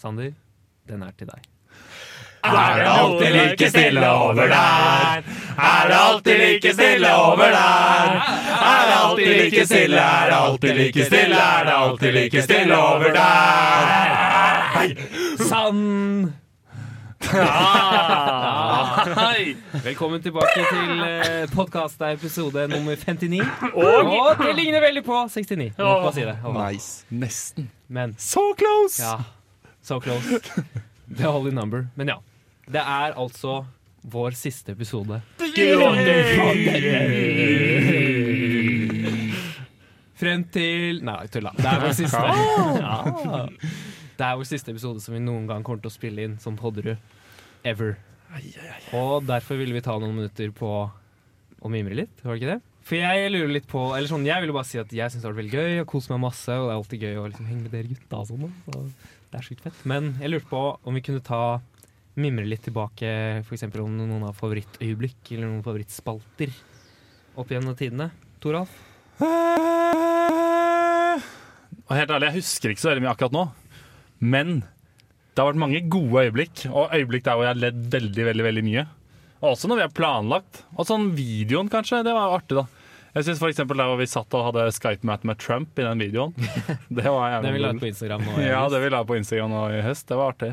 Sander, den er til deg. Er det alltid like stille over der? Er det alltid like stille over der? Er det alltid like stille? Er det alltid like stille? Er det alltid like stille over der? Sann! Velkommen tilbake til eh, podcast Det er episode nummer 59. Og, det ligner veldig på 69. Jeg Må bare si det. Og- Nice. Nesten. Men So close! ja, so close. The holy number. Men ja. Det er altså vår siste episode. Frem til Nei, tulla. Det er vår siste. Ja. Det er vår siste episode som vi noen gang kommer til å spille inn som Podderud. Ever. Og derfor ville vi ta noen minutter på å mimre litt, var det ikke det? For jeg lurer litt på Eller sånn, jeg ville bare si at jeg syns det har vært veldig gøy, og koser meg masse, og det er alltid gøy å liksom henge med dere gutta og sånn. da. Så det er sykt fett. Men jeg lurte på om vi kunne ta mimre litt tilbake, f.eks. om noen av favorittøyeblikk eller noen favorittspalter opp gjennom tidene. Toralf? Og helt ærlig, jeg husker ikke så veldig mye akkurat nå, men det har vært mange gode øyeblikk, og øyeblikk der hvor jeg har ledd veldig, veldig, veldig mye. Og også når vi har planlagt. Og sånn videoen, kanskje. Det var artig, da. Jeg syns f.eks. der hvor vi satt og hadde Skype-møte med Trump i den videoen. Det var jævlig Den vi la kul. ut på Instagram nå. Ja, Mm. det vi la på Instagram nå i høst. Det var artig.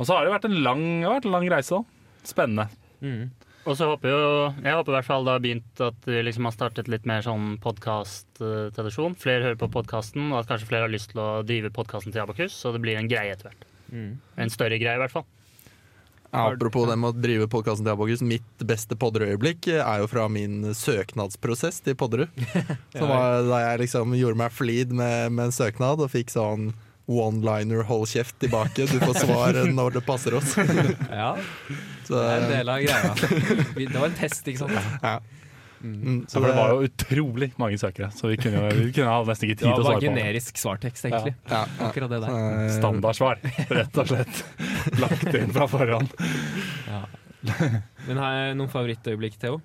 Og så har det vært en lang, det har vært en lang reise da. Spennende. Mm. Og så håper jo, jeg håper i hvert fall det har begynt at vi liksom har startet litt mer sånn podkast-tradisjon. Flere hører på podkasten, og at kanskje flere har lyst til å drive podkasten til Abakus. Så det blir en greie etter hvert. Mm. En større greie, i hvert fall. Apropos det med å drive podkasten til Abogus, mitt beste Podderud-øyeblikk er jo fra min søknadsprosess til Podderud. Som var da jeg liksom gjorde meg flid med, med en søknad og fikk sånn one-liner, hold kjeft tilbake, du får svar når det passer oss. Ja, Så, det er en del av greia. Vi- Det var en test, ikke sant? ja. Mm, Så så for det var jo utrolig mange søkere, så vi kunne, jo- vi kunne ha nesten ikke Det tid til var å bare svare på alle. generisk svartekst, egentlig. ja, ja. Akkurat det der. Eh, Standardsvar, rett og slett. Lagt inn fra forhånd. Men har jeg noen favorittøyeblikk, Theo?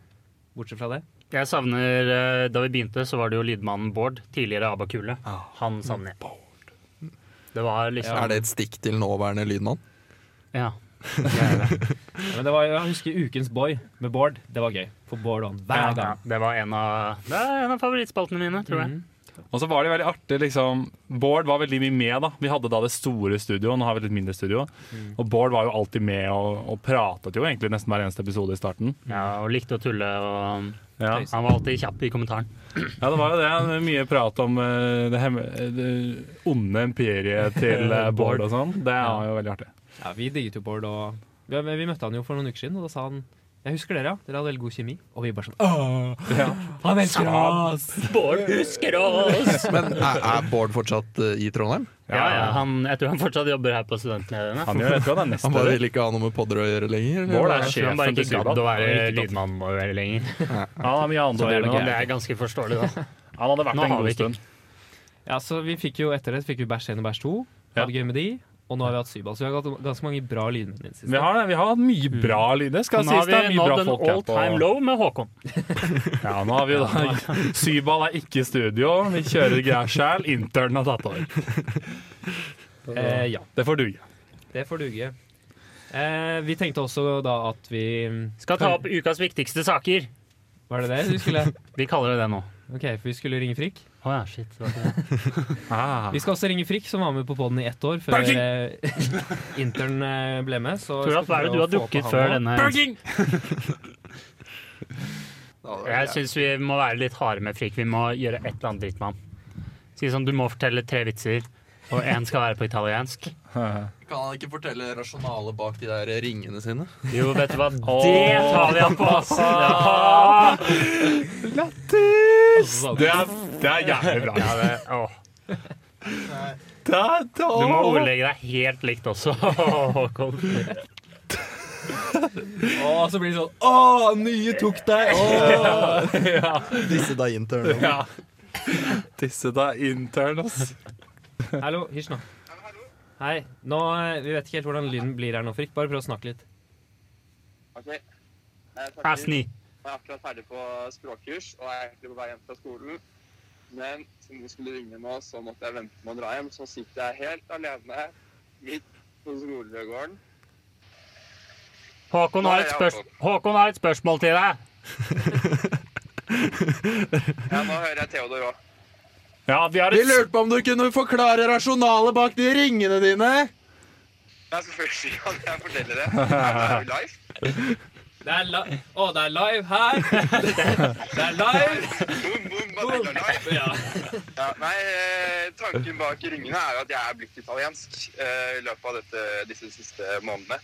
Bortsett fra det? Jeg savner eh, Da vi begynte, så var det jo lydmannen Bård, tidligere Abakule. Han savner jeg. Det var liksom Er det et stikk til nåværende lydmann? Ja. Ja, men det var, jeg husker Ukens boy med Bård. Det var gøy. For Bård vant Ja, hver ja. gang. Det var en av, det er en av favorittspaltene mine, tror jeg. Mhm. Og så var det veldig artig, liksom. Bård var veldig mye med, da. Vi hadde da det store studioet, nå har vi litt mindre studio. Og Bård var jo alltid med og, og pratet jo egentlig nesten hver eneste episode i starten. Ja, og likte å tulle. Og Ja. han var alltid kjapp i kommentaren. Ja, det var jo det. Mye prat om eh, det, hemme, det onde imperiet til eh, Bård og sånn. Det var jo veldig artig. Ja, vi digget jo Bård, og vi, vi møtte han jo for noen uker siden, og da sa han jeg husker dere, ja. Dere hadde veldig god kjemi. Og vi bare sånn Åh, Han elsker oss! Bård husker oss! Men er, er Bård fortsatt eh, i Trondheim? Ja, ja, han, jeg tror han fortsatt jobber her på studentmediene. Han gjør, jeg tror han er Han neste bare vil ikke ha noe med Podderud å gjøre lenger? eller? Bård er Jeg tror han bare sjefen til ikke gadd å Syvdal. være Han er ikke lydmann over lenger. Han har mye annet å Så gjøre nå. det er ganske forståelig, da. Han hadde vært Nå en har vi god ikke- stund. Ja, så vi fikk jo etter det fikk vi Bæsj 1 og Bæsj 2. Hadde gøy med de. Og nå har vi hatt Sybal, så vi har hatt ganske mange bra lydmenn i det Vi siste. har, vi har hatt mye bra lyder, skal Mm. Nå sies. har Det er vi mye nådd bra en folk her all time på low med Håkon. ja, nå har vi jo da Syvball er ikke i studio, vi kjører greia sjæl. Internen har tatt over. Eh, ja, Det får duge. det får duge. Eh, vi tenkte også da at vi Skal ta opp ukas viktigste saker. Var det det du skulle? Vi kaller det det nå. OK, for vi skulle ringe Frikk. Å ja, shit. det var ikke det. Ah. Vi skal også ringe Frikk, som var med på poden i ett år før Berking! eh, intern eh, ble med. Så jeg Toralf, skal hva er det du prøve har å få på drukket han før nå. denne Ja, det er Jeg syns vi må være litt harde med Frik. Vi må gjøre et eller annet dritt med ham. Si sånn, du må fortelle tre vitser, og én skal være på italiensk. Kan han ikke fortelle rasjonalet bak de der ringene sine? Jo, vet du hva, det tar vi ham på! Ja. Lattis! Det er, det er jævlig bra. Ja, det, åh. Det er, det Du må ordlegge deg helt likt også, Håkon. Og så blir det sånn Å, nye tok deg! Å. Disse da internene. Ja. Disse deg intern, ass. Hallo, hysj nå. Hei. Nå, eh, vi vet ikke helt hvordan lyden blir her nå, Frikk. Bare prøv å snakke litt. Ok. Jeg Vær snakker, jeg snill. er akkurat ferdig på språkkurs og er egentlig på vei hjem fra skolen. Men siden du skulle ringe nå, så måtte jeg vente med å dra hjem. Så sitter jeg helt alene midt på skolegården. Håkon har, et spørs Håkon har et spørsmål til deg. Ja, nå hører jeg Theodor òg. Ja, vi har Vi et lurte på om du kunne forklare rasjonalet bak de ringene dine. Det er første gang jeg forteller det. Er det her live? Det er la Å, det er live her! Det er live! Boom, boom, bare det er live. Ja. Ja, nei, eh, tanken bak ringene er jo at jeg er blitt italiensk eh, i løpet av dette, disse siste månedene.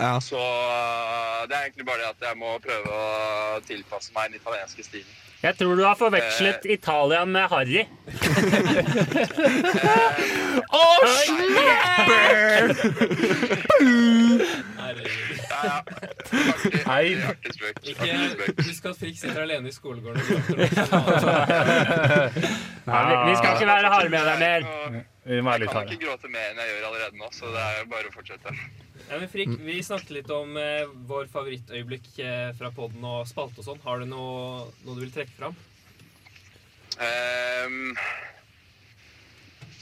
Ja. Så eh, det er egentlig bare det at jeg må prøve å tilpasse meg den italienske stilen. Jeg tror du har forvekslet Italia med Harry. Ja, ja. Artig, Hei. artig, artig spøk. Artig Ikke, spøk. husk at Frikk sitter alene i skolegården og gråter. Nei, vi, vi Ah. skal ikke være harde med deg mer. Vi må være Jeg litt kan harde. ikke gråte mer enn jeg gjør allerede nå, så det er jo bare å fortsette. Ja, men Frikk, vi snakket litt om eh, vår favorittøyeblikk eh, fra podden og spalte og sånn. Har du noe, noe du vil trekke fram? Ehm,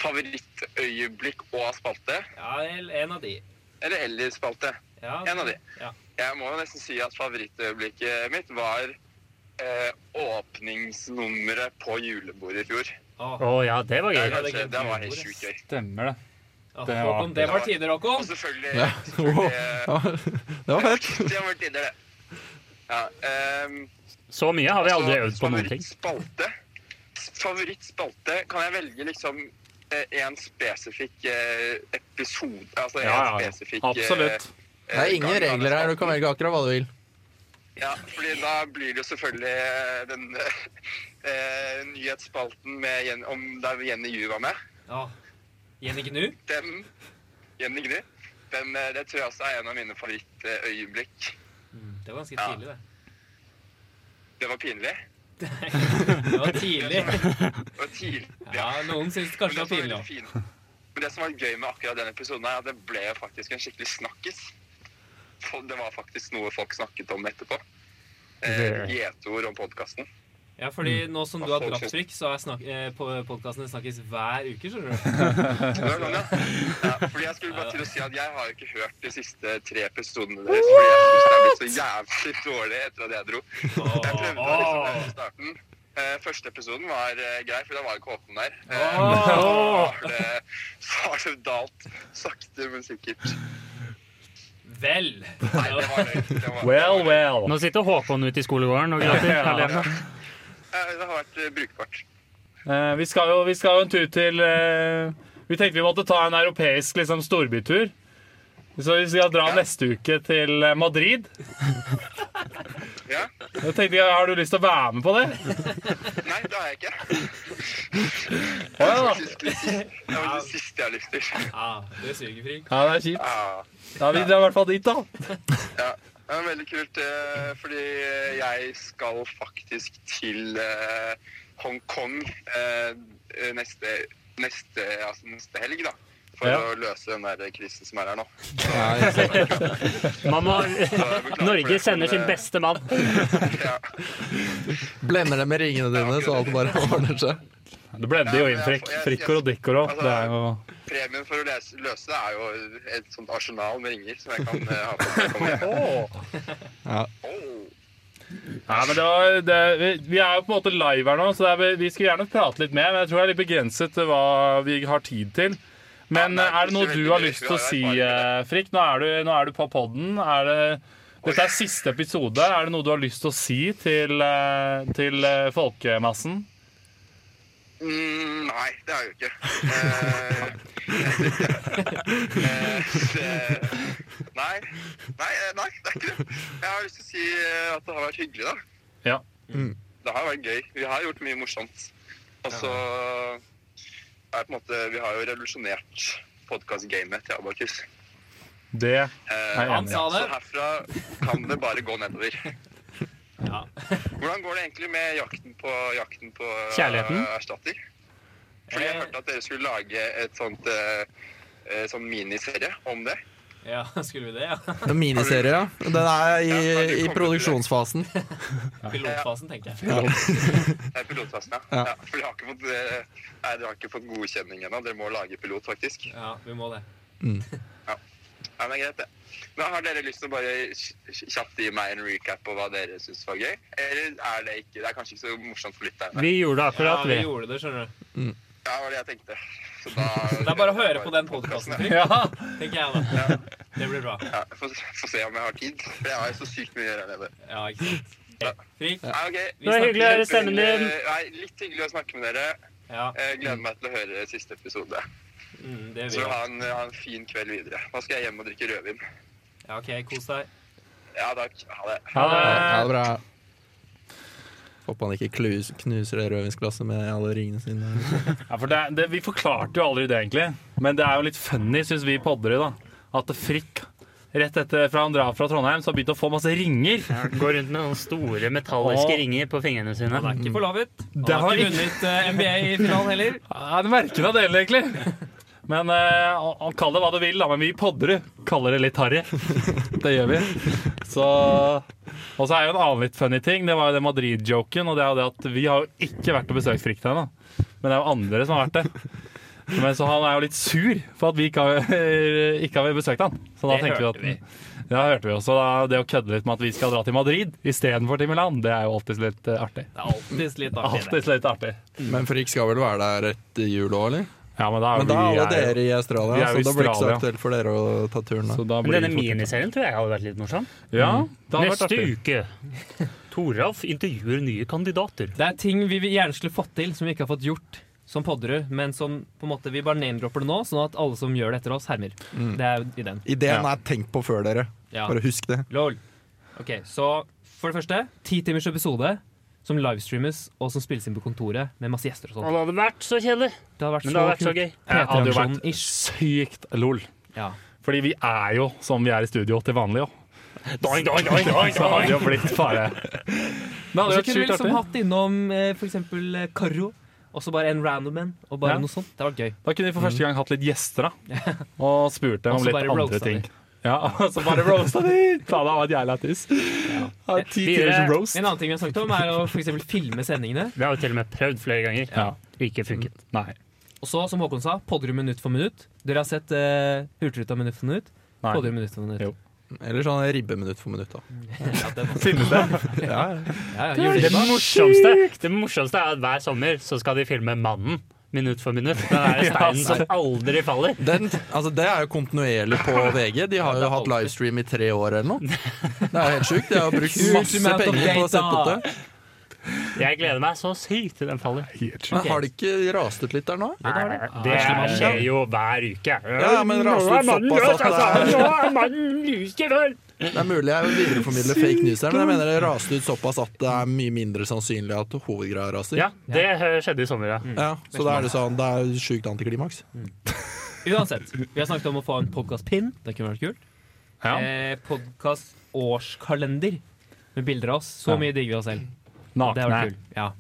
favorittøyeblikk og spalte? Ja, el- en av de. Eller eller-spalte? Ja, altså. En av de. Ja. Jeg må jo nesten si at favorittøyeblikket mitt var eh, åpningsnummeret på julebordet i fjor. Å, Å ja, det var Det, er gøy. kanskje, det var helt sjukt gøy. Stemmer det. ja, det var altså, Håkon, det var tider, Og Håkon! selvfølgelig, Ja. selvfølgelig eh, Det var fett. Det var tidligere. Ja, ehm, Så mye har vi aldri Så, øvd på noen ting. Favorittspalte. Favorittspalte kan jeg velge liksom eh, en spesifikk eh, episode Altså en Ja, ja, ja. spesifikk eh, Absolutt. eh, Det er ingen gang av regler her. Du kan velge akkurat hva du vil. Ja, fordi da blir det jo selvfølgelig eh, den eh, nyhetsspalten med Jen, om der Jenny Ju var med. Ja. Jenny Gnu? Den Jenny Gnu. Den, eh, det tror jeg også er en av mine favorittøyeblikk. Det var ganske Ja. tidlig, det. Det var pinlig. Det var tidlig. Det var tidlig. Ja, noen syns det kanskje Men var pinlig òg. det som var veldig fint- Men det som var gøy med akkurat den episoden, er at det ble jo faktisk en skikkelig snakkis. For Det var faktisk noe folk snakket om etterpå. Eh, Det- Gjetord om podkasten. Ja, fordi nå som du har dratt Frikk, så er snak eh, på podkasten din snakkes hver uke, skjønner du. Ja, fordi jeg skulle bare til å si at jeg har jo ikke hørt de siste tre episodene deres. Fordi jeg synes det er blitt så jævlig dårlig etter at jeg dro. Jeg prøvde å liksom det i starten. Eh, første episoden var eh, grei, for da var jo ikke Håkon der. Eh, Åh. så har det- Så har det dalt sakte, men sikkert. Vel! Nei, det var løgn. Det var- Well, well. Nå sitter Håkon ute i skolegården og gråter Ja. alene. Eh, Det har vært eh, brukbart. Eh, vi, skal jo, vi skal jo en tur til eh, Vi tenkte vi måtte ta en europeisk liksom, storbytur. Så vi skal dra Ja. neste uke til eh, Madrid. Ja? Jeg tenkte, jeg, Har du lyst til å være med på det? Nei, det har jeg ikke. Å, Det ja. var faktisk litt- det var det siste jeg har lyst til. Ja, det suger, Frikk. ja, det er kjipt. Ja, Ja, Vi drar i hvert fall dit, da. ja. Det var veldig kult, eh, fordi jeg skal faktisk til eh, Hongkong eh, neste, neste, altså neste helg, da. For Ja. å løse den der krisen som er her nå. Ja, jeg ser det. Man må, Så jeg beklager for Norge det, sender men, sin eh, beste mann. Ja. Blender det med ringene dine, så alt bare ordner seg. Det blender jo inn frikk. Frikkor og drikkor òg. Det er jo Premien for å lese, løse det er jo et sånt arsenal med ringer som jeg kan eh, ha på meg. Kom igjen. Ja. Åh. Nei, men det var, det, vi- vi er jo på en måte live her nå, så det er, vi- vi skulle gjerne prate litt mer. Men jeg tror det er litt begrenset til hva vi har tid til. Men Ja, det er eh, er det noe ikke så du veldig har mye. lyst Vi til å har si, erfaring med eh, Frikk? Nå er du, nå er du på poden. Er det, dette er siste episode. Er det noe du har lyst til å si til, eh, til eh, folkemassen? Mm, nei, det er jo ikke. Eh, eh, det- nei, nei, eh, nei, det er ikke det. Jeg har lyst til å si eh, at det har vært hyggelig, da. Ja. Mm. Det har vært gøy. Vi har gjort mye morsomt. Og så er på en måte Vi har jo revolusjonert podkast-gamet til Abakus. Det Eh, Nei, jeg er Han sa så det. herfra kan det bare gå nedover. Ja. Hvordan går det egentlig med jakten på, jakten på eh, Kjærligheten? erstatter? Fordi jeg hørte at dere skulle lage et sånt eh, eh, sånn miniserie om det. Ja, skulle vi det, ja? En miniserie, ja. Den er i, i produksjonsfasen. Pilotfasen, tenker jeg. Det er pilotfasen, ja. Ja. ja. For dere har ikke fått, eh, nei, dere har ikke fått godkjenning ennå. Dere må lage pilot, faktisk. Ja, vi må det. Ja, men greit, det. Men Har dere lyst til å bare kj- kj- kjapt gi meg en recap på hva dere syns var gøy? Eller er det ikke Det er kanskje ikke så morsomt for lytterne. Vi gjorde det akkurat, vi. gjorde det, skjønner du. Ja, det var det jeg tenkte. Så da Det er bare å høre på den podkasten, Ja. tenker jeg da. Det blir bra. Ja, Få få se om jeg har tid. For jeg har jo så sykt mye å gjøre her nede. Ja, ikke sant. Frik. Ja, Ah, Vi ok. Det var snakkes. hyggelig å høre stemmen din. Eh, Nei, litt hyggelig å snakke med dere. Ja, Eh, Gleder meg til å høre siste episode. mm, det vil Så jeg. ha en, ha en fin kveld videre. Nå skal jeg hjem og drikke rødvin. Ja, OK, kos deg. Ja takk. Ha det. Ha det. Ha det bra. Håper han ikke klus, knuser det rødvinsglasset med alle ringene sine. Ja, for det, det, vi forklarte jo aldri det, egentlig. Men det er jo litt funny, syns vi i Podderud, da. At Frikk, rett etter fra han drar fra Trondheim, så har begynt å få masse ringer. Går rundt med noen store metalliske Åh. ringer på fingrene sine. Han er ikke forlovet. Han Det har har ikke ikke- vunnet eh, NBA i finalen heller. Ja, det merker vi av dere, egentlig. Men eh, han- kall det hva du vil, da. Men vi i Podderud kaller det litt harry. Det gjør vi. Så Og så er jo en annen litt funny ting. Det var jo det Madrid-joken. Og det er jo det at vi har jo ikke vært og besøkt Frikk ennå. Men det er jo andre som har vært det. Men så han er jo litt sur for at vi ikke har, ikke har besøkt han. Så da Det tenkte vi hørte at Ja, hørte vi også. Da, det å kødde litt med at vi skal dra til Madrid istedenfor til Milan, det er jo alltid litt eh, artig. Det er alltid litt artig. det. Alltid litt artig. Men Frik skal vel være der etter jul òg, eller? Ja, men da er Men da er vi alle er jo- dere i vi Australia, er jo så i da blir det ikke så Australia. aktuelt for dere å ta turen. da. Så da Men blir denne det fort- miniserien tror jeg hadde vært litt morsom. Ja, det hadde vært Neste artig. uke Toralf intervjuer nye kandidater. Det er ting vi vil gjerne skulle fått til, som vi ikke har fått gjort som Podderud, men som på en måte vi bare name-dropper det nå, sånn at alle som gjør det etter oss, hermer. Det er ideen. Ja. Ideen er tenkt på før dere. Ja. Bare husk det. Lol. Ok, så for det første, ti timers episode som livestreames og som spilles inn på kontoret med masse gjester og sånn. Og det hadde vært så kjedelig, Det har vært men det hadde vært så kult. Det gøy. hadde jo vært P3-aksjonen-ish. sykt lol. Ja. Fordi vi er jo som vi er i studio til vanlig, jo. Doing, doing, doing, doing, Så hadde det doing. jo blitt fare. Og Det hadde så vært kunne vi sykt liksom artig. hatt innom eh, for eksempel eh, Karo, og så bare en random en, og bare Ja. noe sånt. Det hadde vært gøy. Da kunne vi for første gang hatt litt gjester, da. Og spurt dem Og så om litt bare andre roasta ting. de. Ja, og så bare roasta de! Faen, det hadde vært jævla tiss. Ja, Ti Videre. timers roast. En annen ting vi har snakket om, er å for eksempel filme sendingene. Vi har jo til og med prøvd flere ganger. Ja. Ikke funket. Nei. Og så, som Håkon sa, podder minutt for minutt. Dere har sett uh, Hurtigruta minutt for minutt. Nei. Podder minutt for minutt. Jo. Eller sånn ribbe minutt for minutt. da. Ja, den, Finnes det? Ja, ja, ja, Det juleskiva. morsomste, det morsomste er at hver sommer så skal de filme Mannen minutt for minutt. Den der steinen som aldri faller. Den, altså det er jo kontinuerlig på VG. De har jo hatt livestream i tre år eller noe. Det er jo helt sjukt. De har brukt Huge masse amount of penger på å sette opp data. det. Jeg gleder meg så sykt til den faller. Helt Men har de ikke rast ut litt der nå? Det skjer jo hver uke. Ja, men raser ut såpass at det altså. Nå er mannen luskefør! Det er mulig jeg videreformidler fake news her, men jeg mener det raste ut såpass at det er mye mindre sannsynlig at hovedgreia raser. Ja, det eh, skjedde i sommer, ja. Ja, så da er det sånn, det er sjukt antiklimaks. Uansett, vi har snakket om å få en podkast-pin. Det kunne vært kult. Ja. Eh, Podkast-årskalender med bilder av oss. Så Ja. mye digger vi oss selv. Det Nakne. var kult. Ja.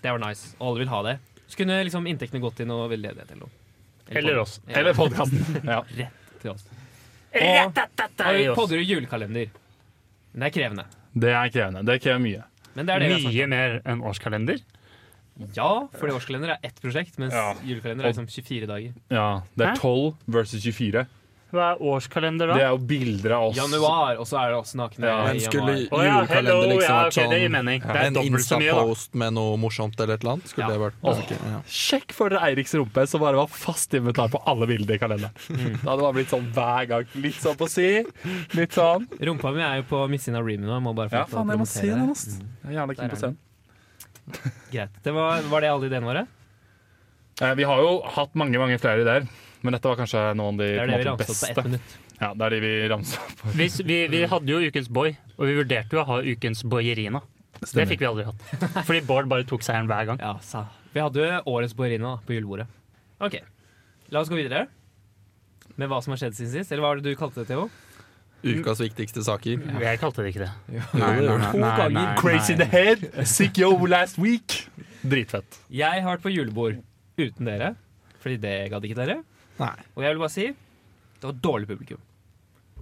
Det var nice. Og alle vil ha det. Så kunne liksom inntektene gått til noe veldedighet eller noe. Eller oss. Eller podkasten. Ja. til oss. Ratatata i Og oss. podder julekalender. Men det er krevende. Det er krevende. Det krever mye. Men det er det vi har snakket om. Mye mer enn årskalender. Ja, fordi årskalender er ett prosjekt, mens Ja. julekalender er liksom 24 dager. Ja, det Hæ? er 12 versus 24. Hva er årskalender da? Det er jo bilder av oss. Januar, og så er det oss nakne Ja, i Men januar. skulle Å ja, hello, julekalender liksom ja, vært ok, det gir sånn mening. Det er en dobbelt så mye, da. Insta-post med noe morsomt eller et eller annet? Ja. Skulle det vært Åh. ok, ja. Sjekk for dere Eiriks rumpe, som bare var fast inventar på alle bilder i kalenderen. Det hadde bare blitt sånn hver gang. Litt sånn på si, litt sånn. Rumpa mi er jo på midtsiden av Reamy nå. Jeg må bare få Ja, lov til å faen, jeg må promotere se det. den, ass. Jeg er gjerne keen Der er på å se den. Greit. Det var, var det alle ideene våre? Eh, Vi har jo hatt mange, mange flere ideer, men dette var kanskje noen av de Det er på en det vi måte, ramset opp på ett beste. minutt. Ja, det er de vi ramsa opp. Hvis, vi, vi hadde jo Ukens Boy, og vi vurderte jo å ha Ukens Boyerina. Det fikk vi aldri hatt. Fordi Bård bare tok seieren hver gang. Ja, sa. Vi hadde jo årets Boirina da, på julebordet. Ok, la oss gå videre med hva som har skjedd siden sist. Eller hva var det du kalte det, Theo? Ukas viktigste saker. Jeg kalte det ikke det. Nei, nei, nei. To ganger Crazy in the head, sick yo last week. Dritfett. Jeg har vært på julebord uten dere, fordi det gadd ikke dere. Nei. Og jeg vil bare si det var dårlig publikum.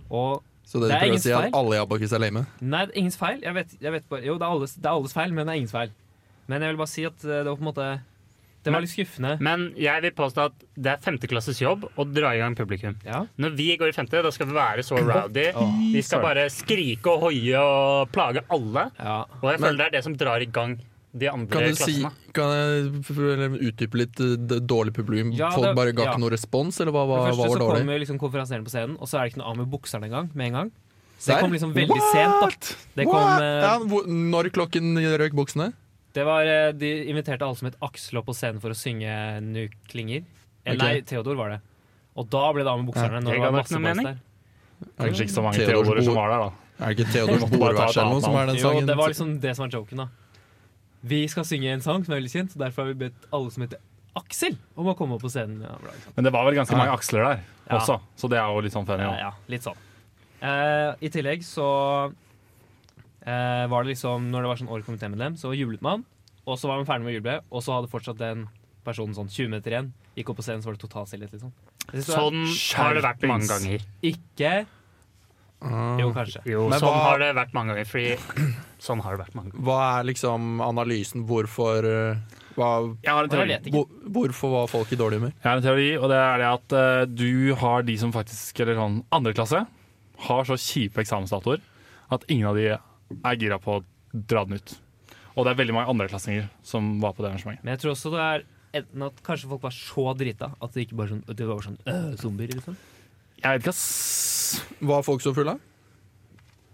Og Så det Det du er prøver å ingens si, er at feil. alle i Abakus er lame? nei, det er ingens feil. Jeg vet, jeg vet bare, jo, det er, alles, det er alles feil, men det er ingens feil. Men jeg vil bare si at eh, det var på en måte Det var litt skuffende. Men jeg vil påstå at det er femteklasses jobb å dra i gang publikum. Ja. Når vi går i femte, da skal vi være så rowdy. Vi skal sorry. bare skrike og hoie og plage alle. Ja. Og jeg Men- føler det er det som drar i gang de Kan andre du si, klassene. kan jeg f- f- eller utdype litt eh, d- dårlig publikum? Ja, Folk det- bare ga ja. ikke noe respons, eller hva, hva, For det hva første var så dårlig? kommer liksom konferansieren på scenen, og så er det ikke noe av med bukserne engang. Med en gang. Så Der? det kom liksom veldig sent. da Det, kom, What? eh, ja, hvor, når klokken røk buksene? det var eh, De inviterte alle som het Aksel opp på scenen for å synge Nu klinger. Eh, Ok. Nei, Theodor var det. Og da ble det av med bukserne. Når Jeg det hadde var ikke masse noe boys mening. der. Kanskje ikke så mange Theodors Theodorer som var bord. der, da. Er det ikke Theodors måtte bare ta Bordvers et eller noe annet som er den Jo, sangen? det var liksom det som var joken, da. Vi skal synge en sang som er veldig kjent, så derfor har vi bedt alle som heter Aksel om å komme opp på scenen. Ja, bra. Men det var vel ganske Ja. mange aksler der Ja. også, så det er jo litt sånn funny. Ja, da. ja, litt sånn. Eh, I tillegg så eh, var det liksom Når det var sånn årlig komitémedlem, så jublet man. Og så var man ferdig med å juble, og så hadde fortsatt den personen sånn 20 meter igjen. Gikk opp på scenen, så var det total stillhet, liksom. Jeg synes det var- Sånn har det vært mange Skjerpings. ganger. Ikke Ah. Jo, kanskje. Jo, Men sånn hva- har det vært mange ganger. Fordi sånn har det vært mange ganger. Hva er liksom analysen? Hvorfor, eh, hva, Jeg har en Jeg teori. vet ikke. hvor, hvorfor var folk i dårlig humør? Jeg har en teori, og det er det at eh, du har de som faktisk, eller sånn andre klasse, har så kjipe eksamensdatoer at ingen av de er gira på å dra den ut. Og det er veldig mange andreklassinger som var på det arrangementet. Men jeg tror også det er enten at kanskje folk var så drita at det ikke bare sånn, det var bare sånn øh, zombier, liksom. Jeg vet ikke, ass. Var folk så fulle?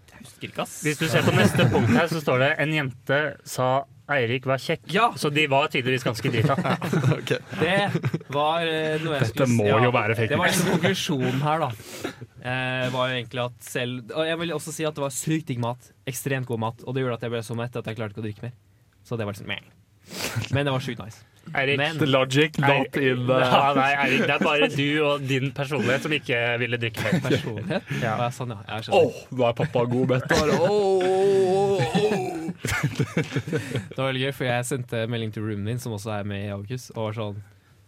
Jeg husker ikke, ass. Hvis du ser på neste punkt her, så står det en jente sa Eirik var kjekk. Ja, Så de var tydeligvis ganske drita. Ok. det var eh, noe jeg Dette skulle må ja. jo være fake Det var news. liksom konklusjonen her, da. Eh, var jo egentlig at selv Og jeg vil også si at det var sykt digg mat. Ekstremt god mat. Og det gjorde at jeg ble så mett at jeg klarte ikke å drikke mer. Så det var liksom meh. Men det var sjukt nice. Eirik, Men The logic not Eirik- in the ja, nei, Eirik, det er bare du og din personlighet som ikke ville drikke mer. personlighet Ja. ja. Sånn, ja. Jeg Åh, skjønner. da er pappa god bedt. Bare, åh, åh, åh, åh. Det var veldig gøy, for jeg sendte melding til roomen din, som også er med i August, og var sånn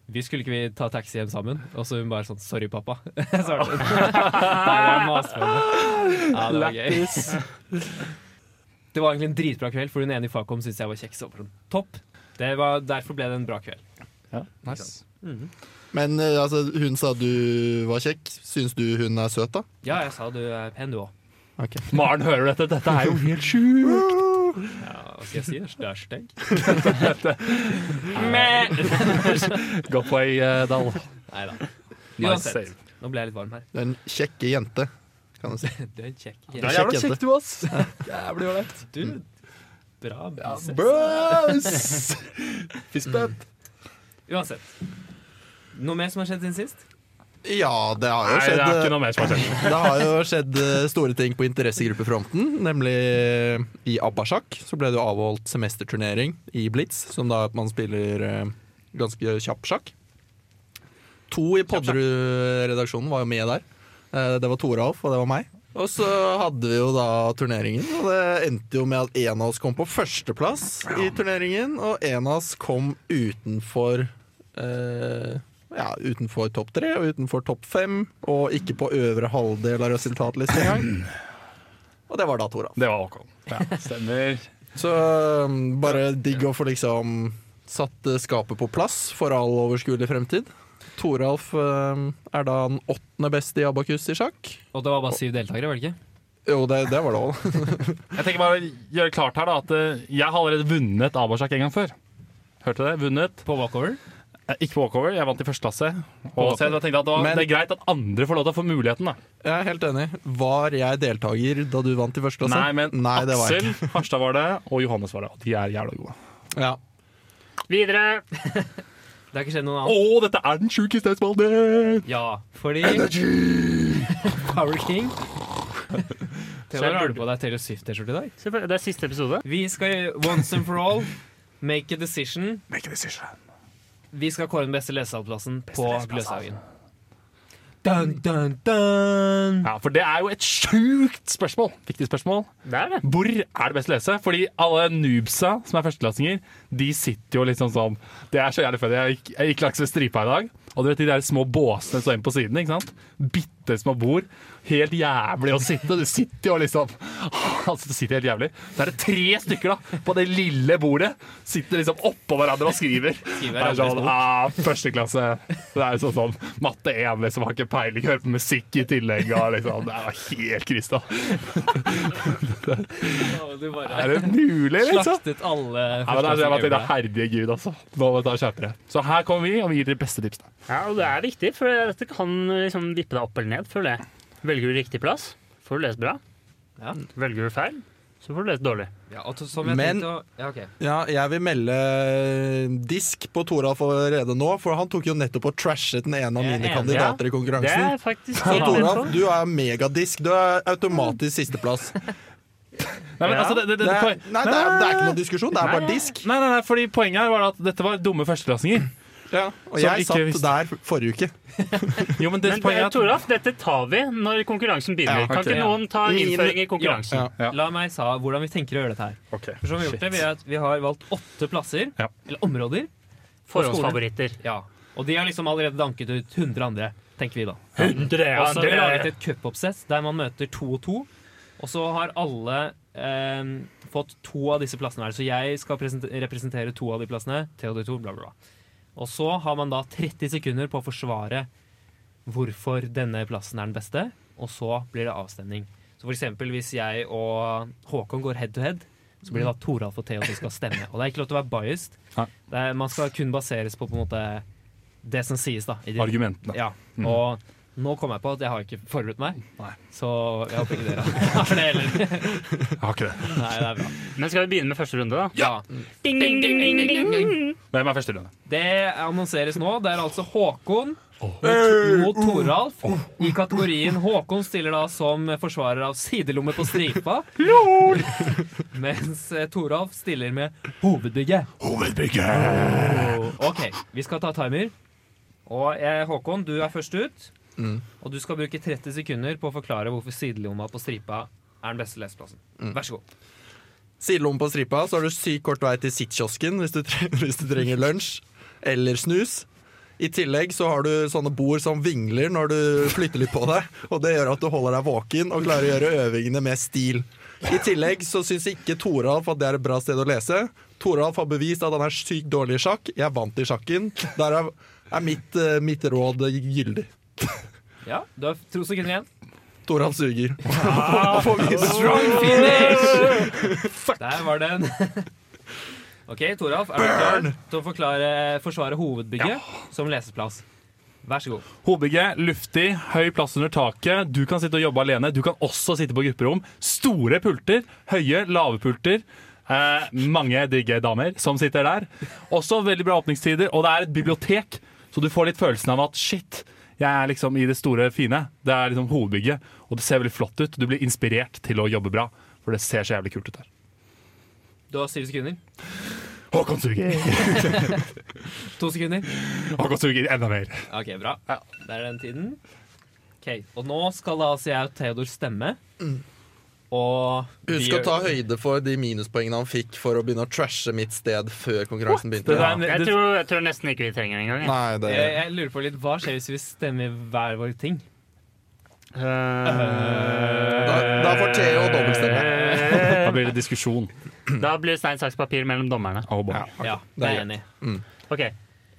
vi skulle ikke vi ta taxi hjem sammen? Og så hun bare sånn 'sorry, pappa'. så var det sånn. Nei, jeg maste på henne. Ja, det var gøy. Det var egentlig en dritbra kveld, for hun ene i Fagkom syntes jeg var kjekk. Så var det sånn, topp. Det var, derfor ble det en bra kveld. Ja, nice. Mhm. Men eh, altså, hun sa du var kjekk. Syns du hun er søt, da? Ja, jeg sa du er pen, du òg. Maren hører dette, dette er jo helt sjukt. Ja, hva skal jeg si? Du er stygg. Men Godt poeng, eh, Dal. Nei da. Nice Uansett. save. Nå ble jeg litt varm her. Den kjekke jente, kan du si. Du er en kjekk Du er jente. jævla Sjekk kjekk jente. du, ass. Jævlig ålreit. Du, bra biceps. Bros! Fistbump. Uansett. Noe mer som har skjedd siden sist? Ja, det har jo Nei, det skjedd, er eh, ikke noe mer som har skjedd. det har jo skjedd eh, store ting på interessegruppefronten. Nemlig eh, i Abbasjak så ble det jo avholdt semesterturnering i Blitz, som da er at man spiller eh, ganske kjapp sjakk. To i Podderud-redaksjonen var jo med der. Eh, Det var Toralf, og det var meg. Og så hadde vi jo da turneringen, og det endte jo med at en av oss kom på førsteplass i turneringen, og en av oss kom utenfor eh, Ja, utenfor topp tre og utenfor topp fem, og ikke på øvre halvdel av resultatlisten engang. Og det var da Toralf. Det var ok. Ja, stemmer. Så um, bare digg å få liksom satt eh, skapet på plass for all overskuelig fremtid. Toralf um, er da den åttende beste i abakus i sjakk. Og det var bare syv deltakere, var det ikke? Jo, det, det var det òg. Jeg tenker bare å gjøre klart her da, at eh, jeg har allerede vunnet Abasak en gang før. Hørte det? Vunnet. På walkover? Eh, Ikke walkover, jeg vant i første klasse. Og så jeg tenkte at det, var, Men- det er greit at andre får lov til å få muligheten. da. Jeg er helt enig. Var jeg deltaker da du vant i første klasse? Nei, men det var jeg Aksel, Harstad var det, og Johannes var det. Og de er jævla gode. ikke. Ja. Videre. Det har ikke skjedd noe Å, annet. dette er den sjukeste spalten! Ja, fordi Power King Theodor, har du på deg Taylor Swift-T-skjorte i dag? Se på- Det er siste episode. Vi skal gjøre once and for all make a decision. Make a decision. Vi skal kåre den beste lesesalplassen på lesesalplassen. Gløshaugen. Dun, dun, dun. Ja, for det er jo et sjukt spørsmål. Viktig spørsmål. Det er det. Hvor er det best å lese? Fordi alle noobsa liksom som er førsteklassinger, de sitter jo litt sånn sånn Det er så jævlig funny. Jeg gikk, jeg gikk langs ved stripa i dag, Og du vet de der små båsene som er inne på siden, ikke sant? Bitte små bord. Helt jævlig å sitte. Du sitter jo liksom Altså, du sitter helt jævlig. Så er det tre stykker da, på det lille bordet. Sitter liksom oppå hverandre og skriver. Det er sånn, ah, første klasse. Det er jo sånn sånn matte 1, liksom, har ikke peiling, hører på musikk i tillegg. Og liksom, det var helt krysta. Du bare Er det mulig, liksom? slaktet alle Ja, men altså, det er, det er, det er herdige gud, altså. Nå må vi ta og skjerpe dere. Så her kommer vi, og vi gir dere beste tipsene. Ja, og det er viktig, for dette kan liksom vippe deg opp eller ned, føler jeg. Velger du riktig plass, får du lest bra. Ja. Velger du feil, så får du lest dårlig. Ja, og så- som jeg Men- tenkte å, ja, ok. Ja, jeg vil melde eh, disk på Toralf allerede nå, for han tok jo nettopp og trashet den ene av Jeg er mine enig, kandidater i Det konkurransen. er faktisk Så helt Toralf, innenfor. du er megadisk. Du er automatisk sisteplass. Nei, men Ja. altså, det, det, Det det, er, poen- nei, det er, det er ikke noen diskusjon, det er bare Nei. disk. nei, nei, nei, fordi poenget her var at dette var dumme førsteklassinger. Og Som jeg ikke satt visste. der forrige uke. Jo, men det Men poenget er eh, at- Toralf, dette tar vi når konkurransen begynner. Ja, Kan ok. ikke noen ta Min- innføring i konkurransen? Ja. Ja. La meg sa hvordan vi tenker å gjøre dette her. Ok, For som Vi har gjort det, vi, er, at vi har valgt åtte plasser, Ja. eller områder. Forhåndsfavoritter. Ja. Og de har liksom allerede danket ut 100 andre, tenker vi da. Hundre! Og så har vi laget et cupoppsett der man møter to og to. Og så har alle eh, fått to av disse plassene her. Så jeg skal presente- representere to av de plassene. Theodor to, bla, bla, bla. Og så har man da 30 sekunder på å forsvare hvorfor denne plassen er den beste. Og så blir det avstemning. Så for eksempel hvis jeg og Håkon går head to head, så blir det da Toralf og Theo som skal stemme. Og det er ikke lov til å være biased. Nei. Det er, man skal kun baseres på på en måte det som sies, da. I de Argumentene. ja, og nå kom jeg på at jeg har ikke forberedt meg, så jeg håper ikke dere har det heller. Jeg har ikke det. Nei, det er bra. Men skal vi begynne med første runde, da? Ja. Ding, ding, ding, ding, ding, ding. Hvem er første runde? Det annonseres nå. Det er altså Håkon mot- mot Toralf i kategorien Håkon stiller da som forsvarer av sidelomme på stripa. Mens eh, Toralf stiller med hovedbygget. OK, vi skal ta timer. Og eh, Håkon, du er først ut. Og du skal bruke 30 sekunder på å forklare hvorfor sidelomma på stripa er den beste leseplassen. Vær så god. Sidelomme på stripa, så har du sykt kort vei til sittkiosken hvis du, tre hvis du trenger lunsj eller snus. I tillegg så har du sånne bord som vingler når du flytter litt på deg, og det gjør at du holder deg våken og klarer å gjøre øvingene med stil. I tillegg så syns ikke Toralf at det er et bra sted å lese. Toralf har bevist at han er sykt dårlig i sjakk. Jeg vant i sjakken. Der er, er mitt, eh, mitt råd gyldig. Ja, du har to sekunder igjen. Toralf suger. Strong finish! Der var den. OK, Toralf, er du klar til å forklare, forsvare hovedbygget som leseplass? Vær så god. Hovedbygget, luftig, høy plass under taket. Du kan sitte og jobbe alene. Du kan også sitte på grupperom. Store pulter. Høye, lave pulter. Eh, mange digge damer som sitter der. Også veldig bra åpningstider. Og det er et bibliotek, så du får litt følelsen av at shit, jeg er liksom i det store, fine. Det er liksom hovedbygget, og det ser veldig flott ut. Du blir inspirert til å jobbe bra, for det ser så jævlig kult ut der. Du har syv sekunder. Håkon suger! To sekunder. Håkon suger enda mer. OK, bra. Der er den tiden. Ok, Og nå skal da altså jeg og Theodor stemme. Og vi Mm. Husk å gjør- ta høyde for de minuspoengene han fikk for å begynne å trashe mitt sted før konkurransen begynte. Det der- Jeg det- tror, jeg tror nesten ikke vi trenger det engang. jeg. Nei, det jeg, jeg lurer på litt, Hva skjer hvis vi stemmer hver vår ting? Eh, Da, da får Theo dobbeltstemme. Eh. Da blir det diskusjon. Da blir det stein, saks, papir mellom dommerne. Oh, boy. Ja, det det er jeg er greit. enig. i. Ok.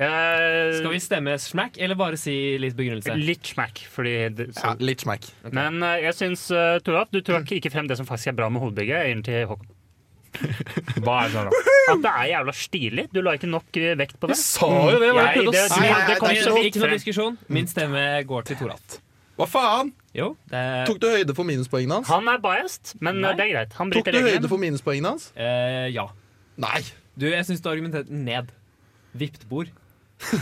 Eh, Skal vi stemme smack, eller bare si litt begrunnelse? Litt smack, fordi det, Ja, så. litt smack. Men eh, jeg syns, uh, Toralf, du trakk ikke frem det som faktisk er bra med hovedbygget. Inn til Håkon. Hva er det som er bra? At det er jævla stilig. Du la ikke nok eh, vekt på det. Sa jo det! Hva er det Jeg- jeg prøvde å si? Nei, nei, det kom det er ikke så vidt Ikke noe frem. diskusjon. Min stemme går til Toralf. Hva faen? Jo, det er Tok du høyde for minuspoengene hans? Han er biased, men eh, Nei. det er greit. Han Tok bryter du høyde regelen. for minuspoengene hans? eh, Ja. Nei. Du, jeg syns du argumenterte ned. Vipt bord. Jeg,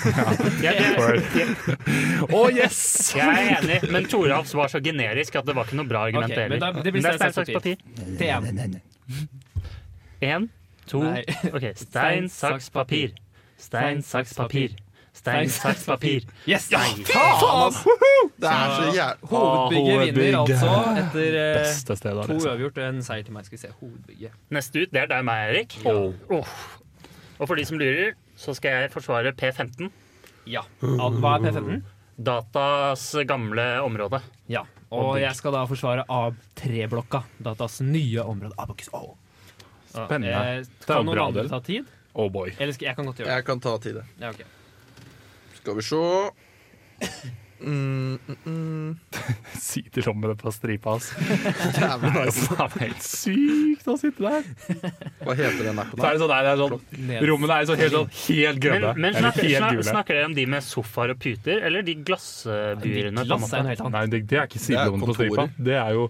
jeg, jeg, Oh, yes! jeg er enig, men Toralfs var så generisk at det var ikke noe bra argument Ok, men heller. da- det blir stein, saks, papir. TM. Én, to Nei. OK. Stein, saks, papir. Stein, saks, papir. Stein, saks, papir. Yes! Faen, ass! Det er så jævlig Hovedbygget vinner Hovedbygget. altså etter eh, Beste liksom. stedet å to lese. uavgjort og en seier til meg. Skal vi se. Hovedbygget. Neste ut, det er deg og meg, Erik. Åh. Og for de som lurer, så skal jeg forsvare P15. Ja. Al- Hva er P15? Datas gamle område. Ja. Og jeg skal da forsvare A3-blokka, datas nye område. Abacus O. Eh, Spennende. Det er jo Kan noen bra, andre det. ta tid? Oh boy. Eller skal jeg kan godt gjøre det? Jeg kan ta tid, jeg. Ja, ok. Skal vi se mm, mm, mm. Sitter sånn med det på stripa hans. Jævlig nice. Det er helt sykt å sitte der. Hva heter den appen? Så er da? det sånn, nei, det er sånn Ned. Rommene er sånn helt, sånn, helt Men, grønne. men Eller snakker, helt snak, gule. snakker dere om de med sofaer og puter, eller de Ditt glassbuene? på en glass er måte? en helt annen. Nei, det, det er ikke sidelommen på Det er stripa. kontorer. Det er jo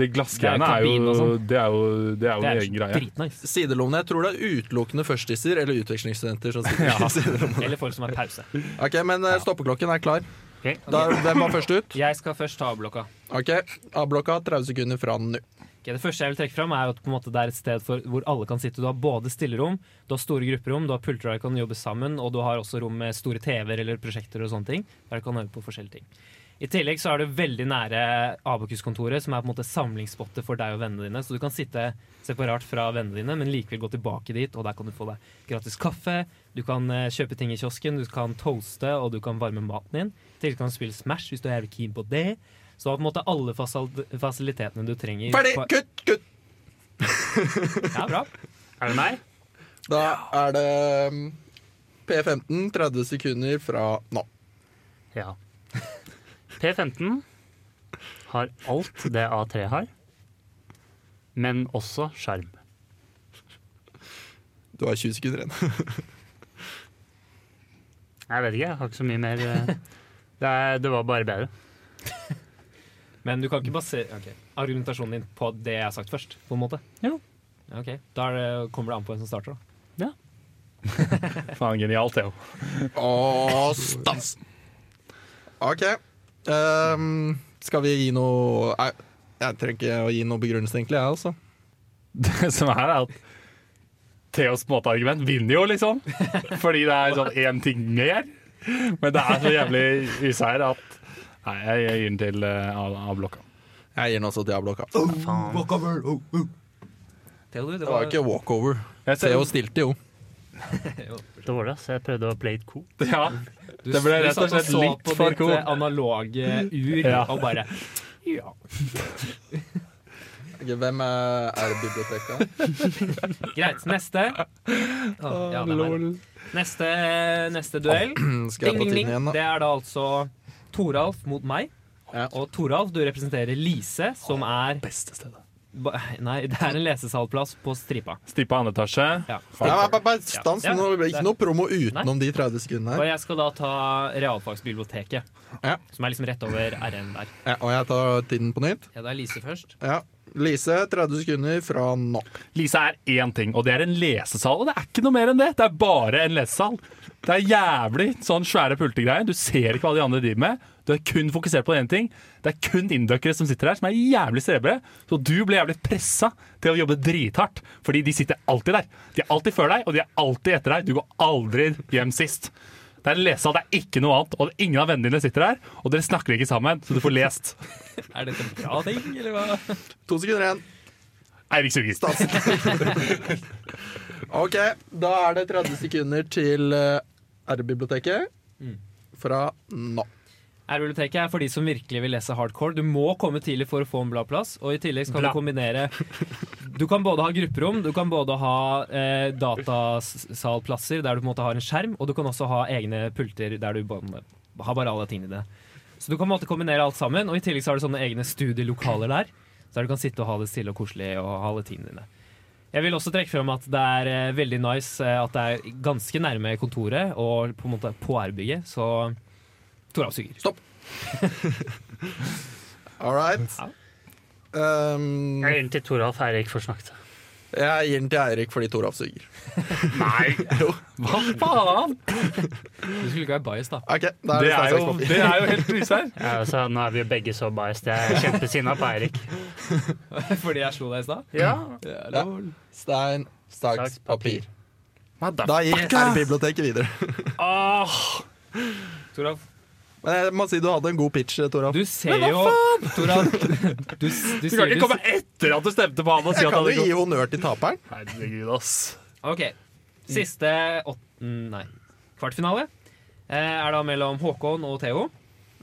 Det glassgreiene er, kabin og jo sånn. Det er jo Det er jo Det en er egen greie. dritnice. Sidelommene. Jeg tror det er utelukkende førstisser eller utvekslingsstudenter. som sitter i sidelommene. Eller folk som har pause. Ok, Men eh, stoppeklokken er klar. Ok. Da, hvem var først ut? Jeg skal først ta A-blokka. Ok, A-blokka 30 sekunder fra nå. Ok, det første jeg vil trekke fram, er at på en måte det er et sted for, hvor alle kan sitte. Du har både stillerom, du har store grupperom, du har pulter der du kan jobbe sammen, og du har også rom med store TV-er eller prosjekter og sånne ting, der du kan øve på forskjellige ting. I tillegg så er du veldig nære Abakus-kontoret, som er på en måte samlingsspottet for deg og vennene dine. Så du kan sitte separat fra vennene dine, men likevel gå tilbake dit, og der kan du få deg gratis kaffe, du kan eh, kjøpe ting i kiosken, du kan toaste, og du kan varme maten din. I tillegg kan du spille Smash hvis du er jævlig keen på det. Så du har på en måte alle fasal- fasilitetene du trenger. Ferdig! på- Kutt! Kutt! ja, bra. Er det meg? Da er det mm, P15 30 sekunder fra nå. Ja. P15 har alt det A3 har, men også skjerm. Du har 20 sekunder igjen. Jeg vet ikke, jeg har ikke så mye mer eh, Det, er, det var bare bedre. Men du kan ikke basere ok, argumentasjonen din på det jeg har sagt først, på en måte? Jo. Ja, Ok, Da er det, kommer det an på hvem som starter, da. Faen, genialt, det er jo. Å, stans! OK. ehm, skal vi gi noe Nei, jeg trenger ikke å gi noe begrunnelse, egentlig, jeg, altså. Det som er, er at Theos måteargument vinner jo, liksom. Fordi det er sånn én ting mer. Men det er så jævlig useier at Nei, jeg jeg gir den til eh, A- A-blokka. Jeg gir den også til A-blokka. Faen. Theodor, det Det var jo ikke walkover. Jeg ser- Theo stilte jo. Det var det, så jeg prøvde å play it cool. Ja, du, det ble du rett og satt slett så litt på for ditt, cool. eh, analoge ur Ja. og bare ja. Ok, hvem er, er det biblioteket? Greit. Neste. Å, ja, hvem er det? neste. Neste duell. Skal jeg Ding, ding, på tiden ding. igjen, Det da? er da altså Toralf mot meg. Ja. Og Toralf, du representerer Lise, som er Beste stedet. ba- Nei, det er en lesesalplass på Stripa. Stippa andre etasje. Ja. Nei, nei, nei, nei, Stans, Ja. nå blir det ikke noe promo utenom Nei. de 30 sekundene Og her. jeg skal da ta realfagsbiblioteket, Ja. som er liksom rett over RN der. Ja, og jeg tar tiden på nytt. Ja, da er Lise først. Ja. Lise, 30 sekunder fra nå. Lise er én ting, og det er en lesesal. Og det er ikke noe mer enn det. Det er bare en lesesal. Det er jævlig sånn svære pultegreier. Du ser ikke hva de andre driver med. Du er kun fokusert på én ting. Det er kun indøkere som sitter her, som er jævlig strebre. Så du blir jævlig pressa til å jobbe drithardt, fordi de sitter alltid der. De er alltid før deg, og de er alltid etter deg. Du går aldri hjem sist. Det er en lesesal, det er ikke noe annet. Og ingen av vennene dine sitter her, og dere snakker ikke sammen, så du får lest. Er dette en bra ting, eller hva? To sekunder igjen. Eirik suger. Stans. OK, da er det 30 sekunder til eh, R-biblioteket Mm. fra nå. R-biblioteket er for de som virkelig vil lese hardcore. Du må komme tidlig for å få en bladplass, og i tillegg så kan Bla. du kombinere Du kan både ha grupperom, du kan både ha eh, datasalplasser der du på en måte har en skjerm, og du kan også ha egne pulter der du bare, har bare alle tingene dine. Så du kan på en måte kombinere alt sammen, og i tillegg så har du sånne egne studielokaler der, så der du kan sitte og ha det stille og koselig og ha alle tingene dine. Jeg vil også trekke frem at det er eh, veldig nice eh, at det er ganske nærme kontoret og på en måte på R-bygget, så Toralf suger. All right. Ja. Um, Jeg gir den til Toralf Eirik for snakket. jeg gir den til Eirik fordi Toralf suger. Nei! Hva faen? Du skulle ikke være bias, da. OK, da Det er det er stein, jo, saks, papir. det er jo helt usær. Ja, så nå er vi jo begge så biased. Jeg er kjempesinna på Eirik. Fordi jeg slo deg i stad? Ja. Ja. Stein, saks, Saks, papir. papir. Da gir R-biblioteket videre. Åh, Toralf, Men jeg må si du hadde en god pitch, Toralf. du ser jo Toralf, du, s- du du kan sier ikke komme etter at du stemte på han og si Jeg at han kan jo hadde gi honnør til taperen. Herregud, ass. OK. Siste åtten... Nei. Kvartfinale. eh, er da mellom Håkon og Theo.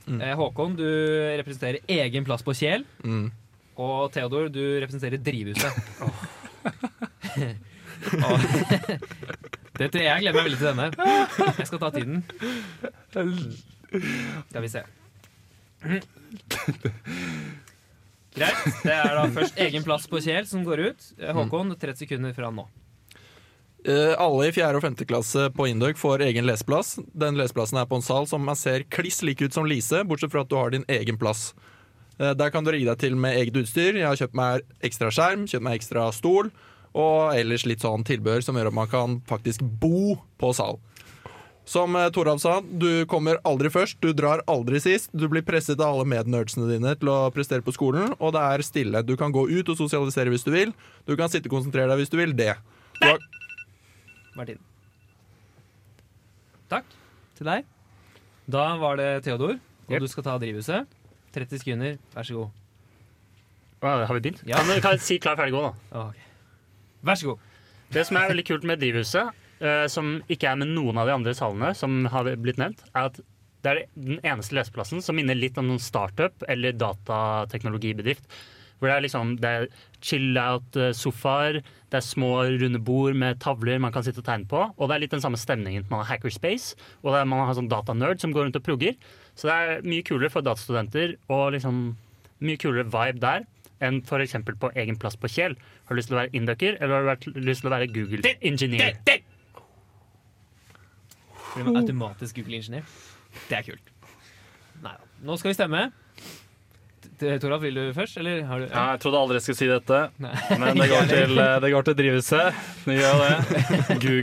Eh, Håkon, du representerer egen plass på Kjel. Mm. Og Theodor, du representerer drivhuset. Og- Dette, jeg gleder meg veldig til denne. Jeg skal ta tiden. Skal vi se. Greit. Det er da først egen plass på Kjel som går ut. Eh, Håkon, 30 sekunder fra nå. Eh, alle i 4. og 5. klasse på Indøk får egen leseplass. Den leseplassen er på en sal som man ser kliss lik ut som Lise, bortsett fra at du har din egen plass. Eh, der kan du rigge deg til med eget utstyr. Jeg har kjøpt meg ekstra skjerm, kjøpt meg ekstra stol, og ellers litt sånn tilbehør som gjør at man kan faktisk bo på sal. Som eh, Toralv sa, du kommer aldri først, du drar aldri sist. Du blir presset av alle mednerdsene dine til å prestere på skolen, og det er stille. Du kan gå ut og sosialisere hvis du vil. Du kan sitte og konsentrere deg hvis du vil det. Du har Martin. Takk til deg. Da var det Theodor, og Jep. du skal ta drivhuset. 30 sekunder, vær så god. Wow, har vi begynt? Ja. Ja, men vi kan si klar, ferdig, gå, da. Ok. Vær så god. Det som er veldig kult med drivhuset, eh, som ikke er med noen av de andre salene som har blitt nevnt, er at det er den eneste leseplassen som minner litt om noen startup eller datateknologibedrift. Hvor det er liksom det er chill-out-sofaer, det er små, runde bord med tavler man kan sitte og tegne på, og det er litt den samme stemningen. Man har hackerspace, og det er, man har sånn datanerd som går rundt og progger. Så det er mye kulere for datastudenter og liksom mye kulere vibe der enn f.eks. på egen plass på Kjel. Har du lyst til å være inducker, eller har du vært- lyst til å være Google engineer? Blir man automatisk Google-ingeniør. Det er kult. Nei da. Nå skal vi stemme. T- Toralf, vil du først, eller har du Ja, jeg trodde aldri jeg skulle si dette, Nei. men det går til, det går til drivhuset. Det gjør det.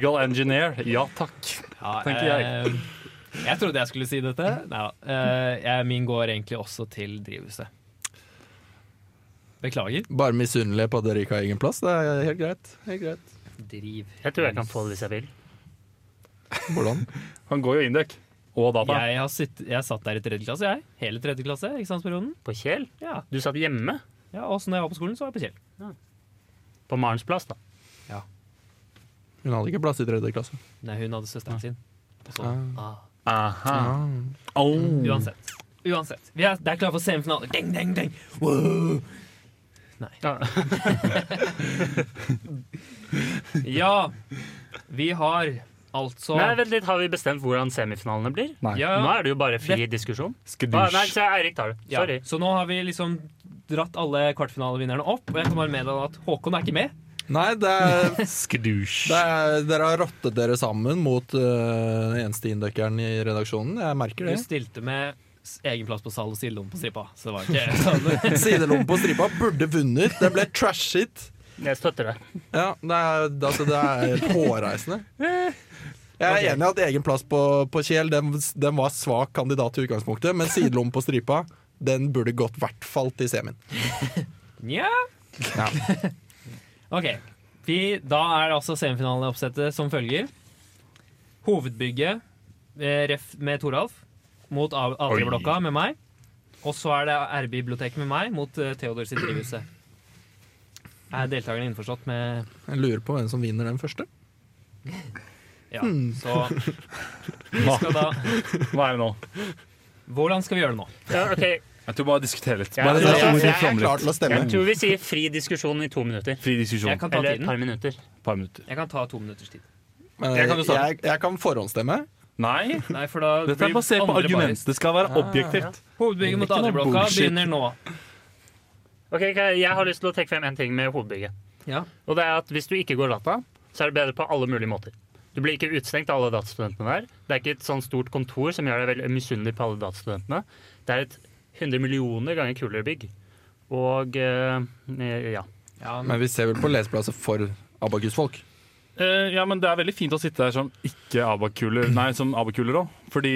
Google Engineer. Ja takk. Ja, tenker jeg. eh, jeg trodde jeg skulle si dette. Nei da. Eh, jeg- min går egentlig også til drivhuset. Beklager. Bare misunnelig på at dere ikke har egen plass. Det er helt greit. Helt greit. Driv. Jeg tror jeg kan få det hvis jeg vil. Hvordan? Han går jo indøk. Og data. Jeg, har sitt, jeg satt der i tredje klasse, jeg. Hele tredje klasse, eksamensperioden. På Kjel? Ja. Du satt hjemme ja, Og så når jeg var på skolen, så var jeg på Kjell. på Marens plass, da. Hun hadde ikke plass i tredje klasse. Nei, hun hadde søsteren sin. Og så, ah. Aha. Au. Uansett. Uansett. Vi er, det er klart for semifinale. Ding, ding, ding. Wow. Ja. Ja, vi har altså Nei, vent litt, Har vi bestemt hvordan semifinalene blir? Nei. Ja, Nå er det jo bare fri diskusjon. Ah, nei, Skdusj. så Eirik tar det. ja. Sorry. Så nå har vi liksom dratt alle kvartfinalevinnerne opp, og jeg kan bare meddele at Håkon er ikke med. Nei, det er, Skdusj. det er, dere har rottet dere sammen mot øh, den eneste indøkeren i redaksjonen. Jeg merker Du det. stilte med s- egen plass på sal og sidelom på stripa, så det var ikke sånn. Sidelommen på stripa burde vunnet. Det ble trash it. Jeg støtter det. Ja, det er, altså, det er helt hårreisende. Jeg er enig i at egen plass på, på Kjel den, den var svak kandidat i utgangspunktet, men sidelommen på stripa den burde gått i hvert fall til semien. Nja. Ja. OK. Vi, da er det altså semifinaleoppsettet som følger. Hovedbygget eh, ref med Toralf mot A- A3-blokka med meg. Og så er det R-biblioteket med meg mot eh, Theodor sitt drivhuset. Er deltakerne innforstått med Jeg lurer på hvem som vinner den første. Ja, Hmm. så vi skal da Hva er det nå? Hvordan skal vi gjøre det nå? Ja, ok. Jeg tror bare diskutere litt. Ja, Bare det er- la jeg- ordene jeg er flamle litt. klar til å stemme. Jeg tror vi sier fri diskusjon i to minutter. Fri diskusjon. Jeg kan ta Eller et tiden. par minutter. Et par minutter. Jeg kan ta to minutters tid. Men Jeg kan jo starte. jeg, jeg kan forhåndsstemme. Nei, Nei, for da dette er blir basert på andre argument. biased. Det skal være objektivt. Hovedbygget mot Ikke noe A3-blokka bullshit. begynner nå. Ok, ok, Jeg har lyst til å trekke frem en ting med hovedbygget. Ja. Og det er at hvis du ikke går data, så er det bedre på alle mulige måter. Du blir ikke utstengt av alle datastudentene der. Det er ikke et sånn stort kontor som gjør deg veldig misunnelig på alle datastudentene. Det er et 100 millioner ganger kulere bygg. Og eh, ja. ja Men vi ser vel på leseplasser for Abakus-folk. Eh, ja, men det er veldig fint å sitte her som ikke abakuler, nei, som abakuler òg. Fordi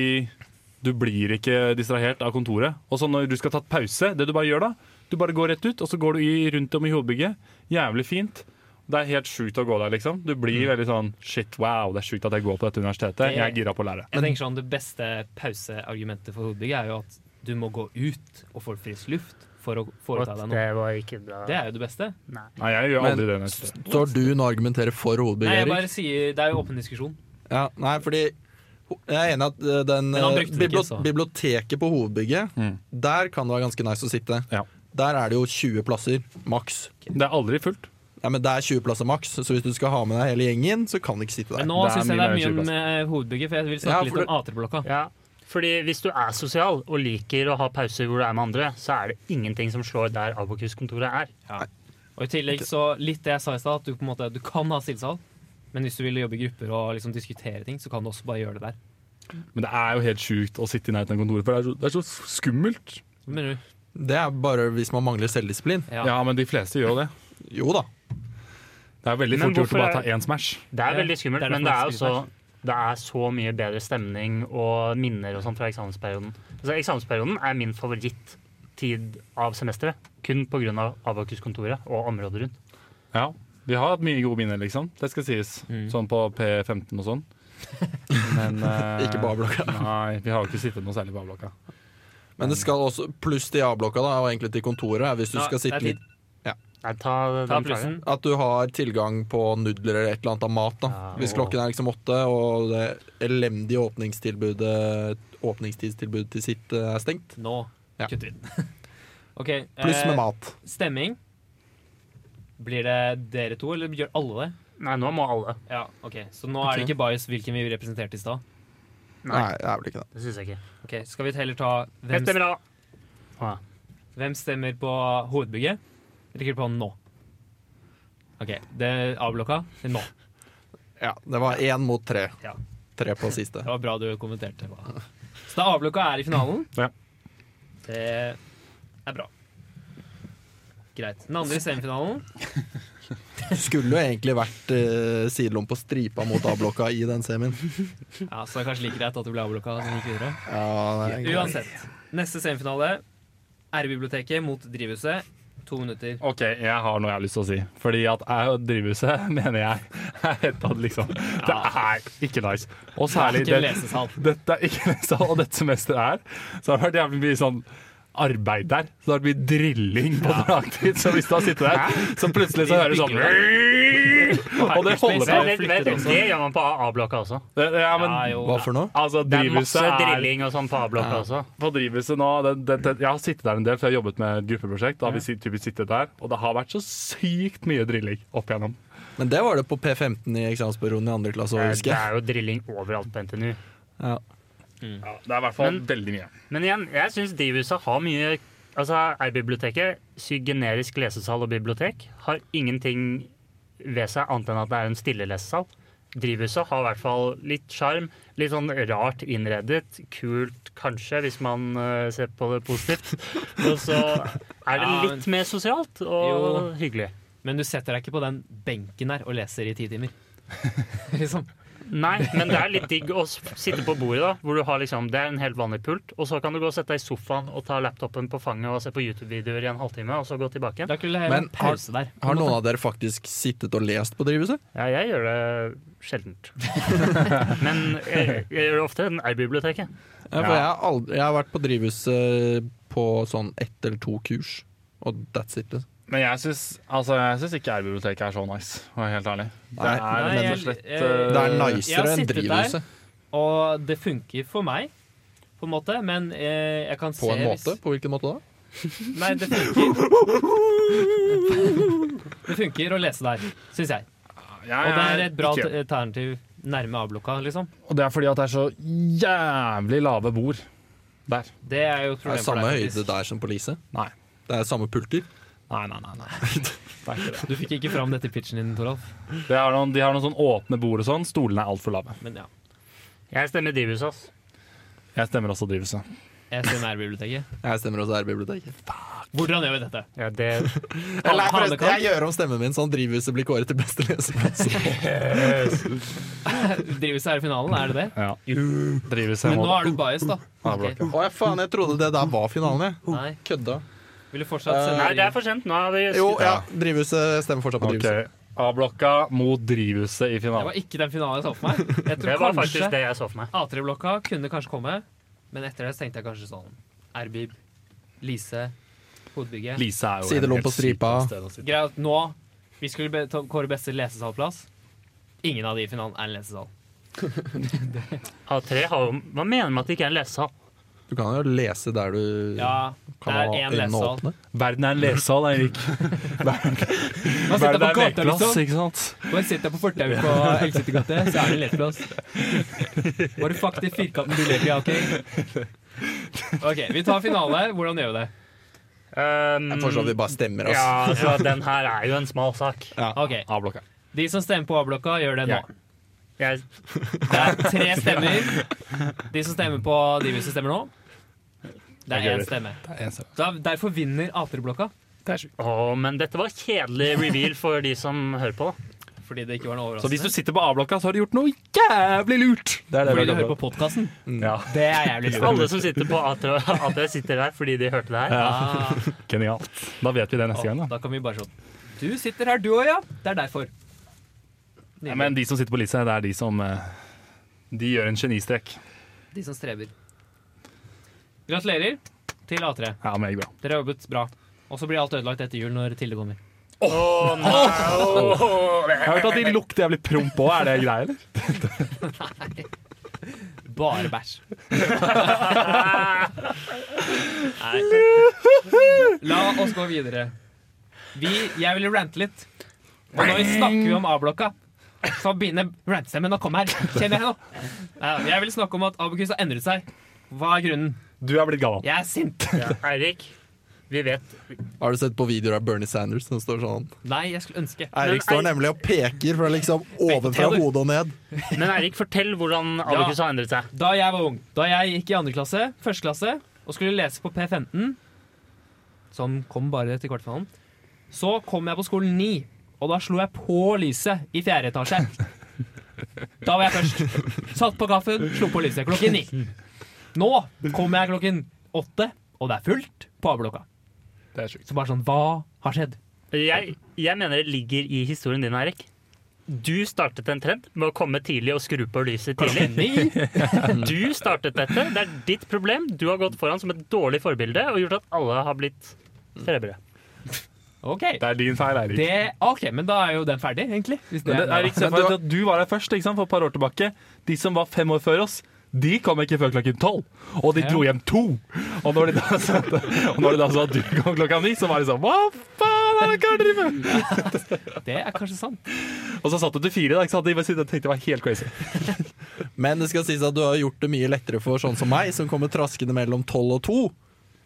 du blir ikke distrahert av kontoret. Og så når du skal tatt pause, det du bare gjør da, du bare går rett ut, og så går du i, rundt om i hovedbygget. Jævlig fint. Det er helt sjukt å gå der, liksom. Du blir veldig sånn shit, wow, det er sjukt at jeg går på dette universitetet. Jeg er gira på å lære. Jeg tenker sånn, Det beste pauseargumentet for hovedbygget er jo at du må gå ut og få frisk luft for å foreta deg noe. det var ikke bra. Det er jo det beste. Nei. Nei, jeg gjør Men- aldri det. neste. Står du nå og argumenterer for Nei, hovedbygget, jeg Erik? bare sier, Det er jo åpen diskusjon. Ja, nei, fordi Jeg er enig i at eh, den, Men han eh, brukte den ikke, bibli- så. biblioteket på hovedbygget, der kan det være ganske nice å sitte. Mm. Ja. Der er det jo 20 plasser, maks. Det er aldri fullt. Nei, men Det er 20 plasser maks, så hvis du skal ha med deg hele gjengen, så kan du ikke sitte Men der. nå Det er syns jeg det mye er mye mer om eh, hovedbygget, for jeg vil snakke Ja, for litt om A3-blokka. Ja. Fordi hvis du er sosial og liker å ha pauser hvor du er med andre, så er det ingenting som slår der Abokus-kontoret er. Og i tillegg så litt det jeg sa i stad, at du, på en måte, du kan ha stillesal. Men hvis du vil jobbe i grupper og liksom diskutere ting, så kan du også bare gjøre det der. Men det er jo helt sjukt å sitte i nærheten av kontoret, for det er så, det er så skummelt. Hva mener du? Det er bare hvis man mangler selvdisiplin. Ja. Ja, men de fleste gjør jo det. Jo da. Det er veldig Men fort gjort å hvorfor bare ta er- én Smash. Det er Ja, veldig skummelt, det er men det derfor er man jo skriver så det er så mye bedre stemning og minner og sånn fra eksamensperioden. Altså, eksamensperioden er min favorittid av semesteret. Kun pga. Abakus-kontoret og området rundt. Ja, Vi har hatt mye gode minner, liksom. Det skal sies. Mm. Sånn på P15 og sånn. Men eh, Ikke på A-blokka. Nei, vi har jo ikke sittet noe særlig på A-blokka. Men det skal også, pluss til A-blokka, da, og egentlig til kontoret, er hvis du Ja, skal det sitte er litt Nei, ta, Ta den fra deg. plussen. At du har tilgang på nudler eller et eller annet av mat. da Ja. Hvis klokken er liksom åtte, og det elendige åpningstilbudet åpningstidstilbudet til sitt eh, er stengt. Nå Ja. kutter vi den. OK. Pluss med eh, mat. Stemming. Blir det dere to, eller gjør alle det? Nei, nå må alle. Ja, ok. Så nå er det Ok. ikke bias hvilken vi representerte i stad. Nei, Nei. det er vel ikke det. Det syns jeg ikke. Ok, Skal vi heller ta Jeg hvem, stemmer da. Å, ja. hvem stemmer på hovedbygget? Rekker på nå. OK. Det er A-blokka. Nå. Ja, Det var én mot tre. Ja. Tre på siste. Det var bra du kommenterte. hva- Så da A-blokka er i finalen. Ja. Det er bra. Greit. Den andre semifinalen Skulle jo egentlig vært eh, sidelom på stripa mot A-blokka i den semien. Ja, Så det er kanskje like greit at det ble A-blokka som gikk videre. Ja, det er greit. Uansett. Neste semifinale. R-biblioteket mot Drivhuset. To minutter. OK, jeg har noe jeg har lyst til å si. Fordi at jeg og drivhuset, mener jeg, er et av de, liksom Det er ikke nice. Og særlig Ikke det- lesesal. Dette er ikke lesesal, og dette semesteret er. Så det har vært jævlig mye sånn arbeid der. Så det har vært mye drilling på dagtid. Så hvis du har sittet der, så plutselig så hører du sånn Og det holder på. Vent, vent, vent, flytter Det gjør man på A-blokka også. Det- Ja, Ja, men jo. Hva for noe? altså, Det er masse drivhuset er drilling og sånn på A-blokka også. på drivhuset nå det, det, det, Jeg har sittet der en del, for jeg har jobbet med et gruppeprosjekt. Da har vi sitt- typisk sittet der, og det har vært så sykt mye drilling opp igjennom. Men det var det på P15 i eksamensperioden i andre klasse. Det å er- huske det er jo drilling overalt på NTNU. Ja. Ja, det er i hvert fall Men- veldig mye. Men igjen, jeg syns drivhuset har mye Altså, R-biblioteket, sykt generisk lesesal og bibliotek, har ingenting ved seg annet enn at det er en stille lesesal. Drivhuset har i hvert fall litt sjarm, litt sånn rart innredet, kult kanskje, hvis man eh, ser på det positivt. Og så er det Ja, men- litt mer sosialt Jo. og hyggelig. Men du setter deg ikke på den benken der og leser i ti timer. liksom. Nei, men det er litt digg å s- sitte på bordet, da. Hvor du har liksom, det er en helt vanlig pult. Og så kan du gå og sette deg i sofaen og ta laptopen på fanget og se på YouTube-videoer i en halvtime, og så gå tilbake igjen. Da kunne du ha Men en pause der. Har noen av dere faktisk sittet og lest på drivhuset? Ja, jeg gjør det sjeldent. men jeg, jeg gjør det ofte i R-biblioteket. Ja, for jeg, har aldri, jeg har vært på drivhuset på sånn ett eller to kurs, og that's it. liksom. Men jeg syns altså, jeg syns ikke R-biblioteket er så nice, for å være helt ærlig. Det Nei. er Nei, rett og jeg- slett jeg- eh, Det er Eh, jeg har nicere enn sittet der. drivhuset. Og det funker for meg, på en måte, men eh, jeg kan På se en måte. På hvilken måte da? Hvis, nei, det funker. det funker å lese der, syns jeg. jeg Og det er et bra ikke- alternativ nærme A-blokka, liksom. Og det er fordi at det er så jævlig lave bord der. Det er jo et Det er problem for samme deg. høyde faktisk. der som på Lise. Nei. Det er samme pulter. Nei, nei, nei. nei. Det er ikke det. Du fikk ikke fram dette pitchen din, Toralf. De har noen, de har noen sånn åpne bord og sånn. Stolene er altfor lave. Men ja. Jeg stemmer Divus, ass. Jeg stemmer også drivhuset. Jeg ser nærbiblioteket. Jeg stemmer også R-biblioteket. Hvordan gjør vi dette? Ja, det, Eller forresten, Hanekamp? jeg gjør om stemmen min sånn drivhuset blir kåret til beste leseplass. Drivhuset er i finalen, er det det? Ja. Drivhuset Men nå må er du bias, da. A-blokka. Ok. Å ja, faen, jeg trodde det der var finalen, jeg. Nei. Kødda. Vil du fortsatt sende nei, det er for sent. Nå har vi Jo, ja, drivhuset stemmer fortsatt på Ok, drivhuset. A-blokka mot drivhuset i Det finalen. var ikke den finalen jeg så for meg. Jeg Det tror var kanskje faktisk det jeg så for meg. A3-blokka kunne kanskje komme, men etter det så tenkte jeg kanskje sånn Erbib, Lise, Hovedbygget. Lise er jo Sidelom en helt på stripa. sykt sted å sitte. Greit, nå Vi skulle be- ta- kåre beste lesesalplass. Ingen av de i finalen er en lesesal. A3 har jo Hva mener du med at det ikke er en lesesal? Du kan jo lese der du Ja, det kan er ha én øynene lesesal. åpne. Verden er en lesesal, Eirik. Man sitter på gata, liksom. ikke sant? Man sitter på fortauet på Elgsetergate, så er det lettplass. Bare fuck det firkanten du lever i, OK? OK, vi tar finale. Hvordan gjør vi det? Um, Jeg foreslår at vi bare stemmer oss. Ja, altså, den her er jo en smal sak. OK. A-blokka. De som stemmer på A-blokka, gjør det nå. Jeg, Det er tre stemmer. De som stemmer på de som stemmer nå. Det er én stemme. Da, derfor vinner A3-blokka. å, men dette var kjedelig reveal for de som hører på. da. Fordi det ikke var noe Så hvis du overraskende. sitter på A-blokka, så har du gjort noe jævlig lurt. Det er Fordi du vi er hører glad på podkasten. for. Ja, Det er jævlig spennende. Alle som sitter på A3, A3 sitter der fordi de hørte det her. Ah, genialt. Da vet vi det neste gang, da. da kan vi bare sånn Du sitter her, du òg, ja. Det er derfor. Ja, men de som sitter på Lise, det er de som eh, De gjør en genistrek. De som streber. Gratulerer til A3. Ja, meget bra. Dere har jobbet bra. Og så blir alt ødelagt etter jul når Tilde kommer. Å, nei. Jeg har hørt at de lukter jævlig promp òg, er det greia, eller? Bare bæsj. Nei. La oss gå videre. Vi, jeg ville rante litt. Og når vi snakker om A-blokka, så begynner rantstemmen å komme her. Kjenner jeg nå. Ja, Jeg vil snakke om at Abakus har endret seg. Hva er grunnen? Du er blitt gal. Jeg er sint. Ja, Eirik, vi vet Har du sett på videoer av Bernie Sanders som står sånn? Nei, jeg skulle ønske. Eirik står nemlig og peker fra liksom ovenfra Taylor. hodet og ned. Men Eirik, fortell hvordan Abacus har endret seg. Da jeg var ung, da jeg gikk i andre klasse, første klasse, og skulle lese på P15, som kom bare til kvartfinalen, så kom jeg på skolen 9, og da slo jeg på lyset i fjerde etasje. Da var jeg først. Satt på kaffen, slo på lyset klokken 9. Nå kommer jeg klokken 8, og det er fullt på A-blokka. Det er sjukt. Så bare sånn, hva har skjedd? Jeg, jeg mener det ligger i historien din, Eirik. Du startet en trend med å komme tidlig og skru på lyset tidlig. Klokken 9? Du startet dette. Det er ditt problem. Du har gått foran som et dårlig forbilde og gjort at alle har blitt strebere. Ok. Det er din feil, Eirik. Det, ok, men da er jo den ferdig, egentlig. Hvis det Men det, er, Eirik, se Men for du- deg at du var her først ikke sant, for et par år tilbake. De som var fem år før oss, de kom ikke før klokken tolv. Og de dro hjem to. Og når de da sa, og når de da sa at du kom klokka ni, så var de sånn Hva faen er det dere driver med? det er kanskje sant. Og så satt du til fire, da, ikke sant? De bare sitter og tenkte det var helt crazy. Men det skal sies at du har gjort det mye lettere for sånn som meg, som kommer traskende mellom tolv og to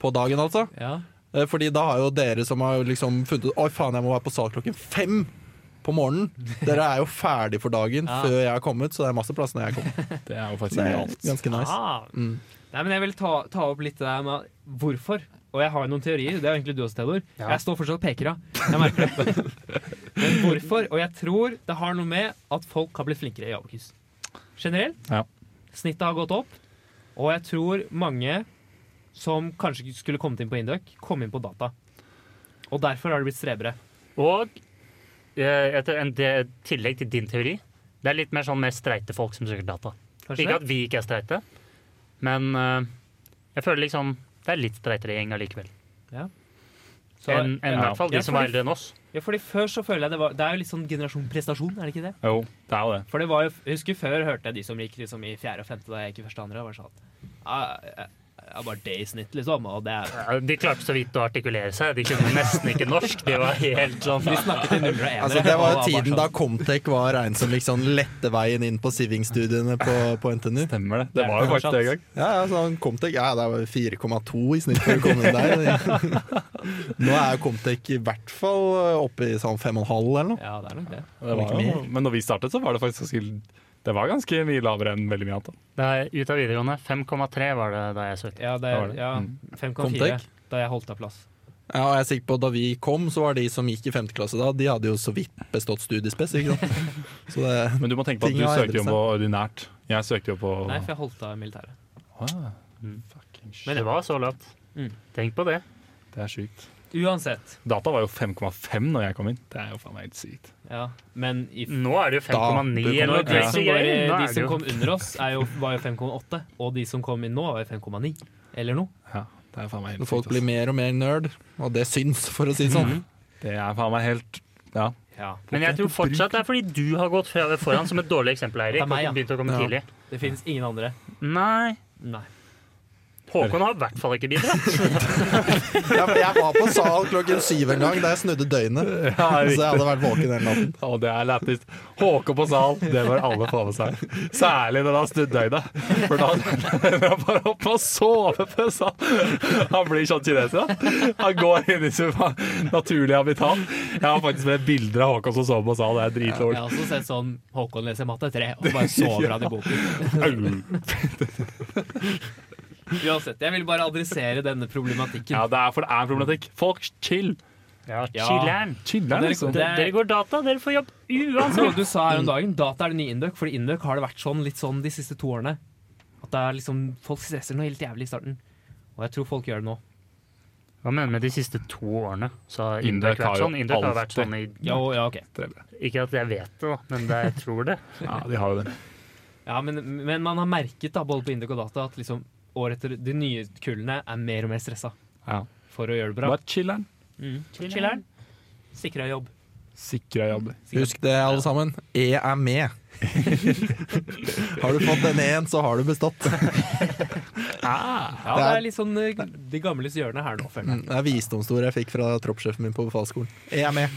på dagen, altså. Ja. Eh, Fordi da har jo dere som har liksom funnet ut Oi faen, jeg må være på sal klokken fem på morgenen. Dere er jo ferdig for dagen Ja. før jeg har kommet, så det er masse plass når jeg kommer. Det er jo Det faktisk er genialt. ganske nice. Ah. Nei, men jeg vil ta, ta opp litt det der med hvorfor. Og jeg har jo noen teorier. Det er jo egentlig du også, Theodor. Jeg står fortsatt og peker av. Jeg merker det. Men hvorfor? Og jeg tror det har noe med at folk har blitt flinkere i Abokus. Generelt. Ja. Snittet har gått opp. Og jeg tror mange som kanskje ikke skulle kommet inn på Induc, kom inn på data. Og derfor har de blitt strebere. Og eh, etter en det- tillegg til din teori, det er litt mer sånn mer streite folk som søker data. Kanskje Ikke at det? vi ikke er streite, men eh, jeg føler liksom det er litt streitere gjeng allikevel. Så, Enn enn i ja. hvert fall de Ja, som fordi- er eldre enn oss. ja, fordi før så føler jeg det var Det er jo litt sånn generasjon prestasjon, er det ikke det? Jo, det er jo det. For det var jo, jeg husker før hørte jeg de som gikk liksom, i fjerde og femte da jeg gikk i første og andre. og Var sånn, «Ja, jeg, jeg har bare det i snitt, liksom. Og det er, Ja, De klarte så vidt å artikulere seg. De kunne nesten ikke norsk. De var helt sånn de snakket til nuller og enere. Altså, det var jo og bare tiden sånn, da Comtec var regnet som liksom lette veien inn på Siving-studiene på, på NTNU. Stemmer det. Det var jo faktisk det en gang. Ja, ja, sånn Comtec ja, det var 4,2 i snitt for å komme inn der. Nå er jo Comtec i hvert fall oppe i sånn 5,5 eller noe. Ja, det er nok det. Det var Ikke jo, men når vi startet, så var det faktisk ganske, det var ganske mye lavere enn veldig mye annet. da. Nei, Ut av videregående. 5,3 var det da jeg søkte. Ja, det Da var er det. ja, 5,4 Mm. Comtech? da jeg holdt av plass. Ja, og jeg er sikker på at Da vi kom, så var de som gikk i 5. klasse da, de hadde jo så vidt bestått studiespes. ikke sant? Så det, Men du må tenke på at Ting du har søkte jo endret på ordinært. Jeg søkte jo på Nei, for jeg holdt av militæret. ah, Mm. fucking shit. Men det var så lavt. Mm. Tenk på det. Det er sjukt. Uansett. Data var jo 5,5 når jeg kom inn. Det er jo faen meg helt sykt. Ja, men i Nå er det jo 5,9 Da- det eller Nå, noe de, som crazy. går, i- greier. Nå de er Mm. det som jo kom under oss, er jo, var jo 5,8. Og de som kom inn nå, var jo 5,9. Eller noe. Ja, det er faen meg helt når folk sykt. blir mer og mer nerd, og det syns, for å si det sånn. ass. Det er faen meg helt Ja. Ja, Men jeg tror fortsatt det er fordi du har gått fra- foran som et dårlig eksempel, Eirik. Det er meg, og begynt å komme Ja. tidlig. Det finnes ingen andre. Nei. Nei. Håkon har i hvert fall ikke bidratt. Jeg, jeg var på sal klokken syv en gang da jeg snudde døgnet. Ja, Så jeg hadde vært våken hele natten. Å, det er lættis. Håkon på sal, det bør alle få med seg. Særlig når han snudde øynene. For da ender han bare opp med å sove på sal. Han blir sånn kineser. da. Han går inn i sitt naturlige habitat. Jeg har faktisk med bilder av Håkon som sover på sal. Det er Jeg dritdårlig. har også sett sånn Håkon leser matte 3, og bare sover han i boken. Au. Uansett, jeg vil bare adressere denne problematikken. Ja, det er, for det er en problematikk. Folk, chill. Ja, Ja. chilleren. Chiller'n, Det- liksom. Dere, dere går data, dere får jobb Så uansett. du sa her om dagen, data er det nye Induc, fordi Induc har det vært sånn litt sånn de siste to årene. At det er liksom, folk stresser noe helt jævlig i starten. Og jeg tror folk gjør det nå. Hva mener du med de siste to årene? Så har Indøk Indøk har vært jo sånn. Indøk har vært alltid- sånn i Ja, og- ja, ok. Ikke at jeg vet det, da, men det, jeg tror det. Ja, de har jo det. Ja, men, men man har merket da, både på Induc og data at liksom, år etter de nye kullene er mer og mer stressa Ja. for å gjøre det bra. Bare chiller'n. Chiller'n. Sikra jobb. Sikra jobber. Husk det, alle sammen. E er med. Har du fått den E-en, så har du bestått. Ja, det er litt sånn eh, de gamles hjørne her nå, føler jeg. Det er visdomsord jeg fikk fra troppssjefen min på befalsskolen. E er med.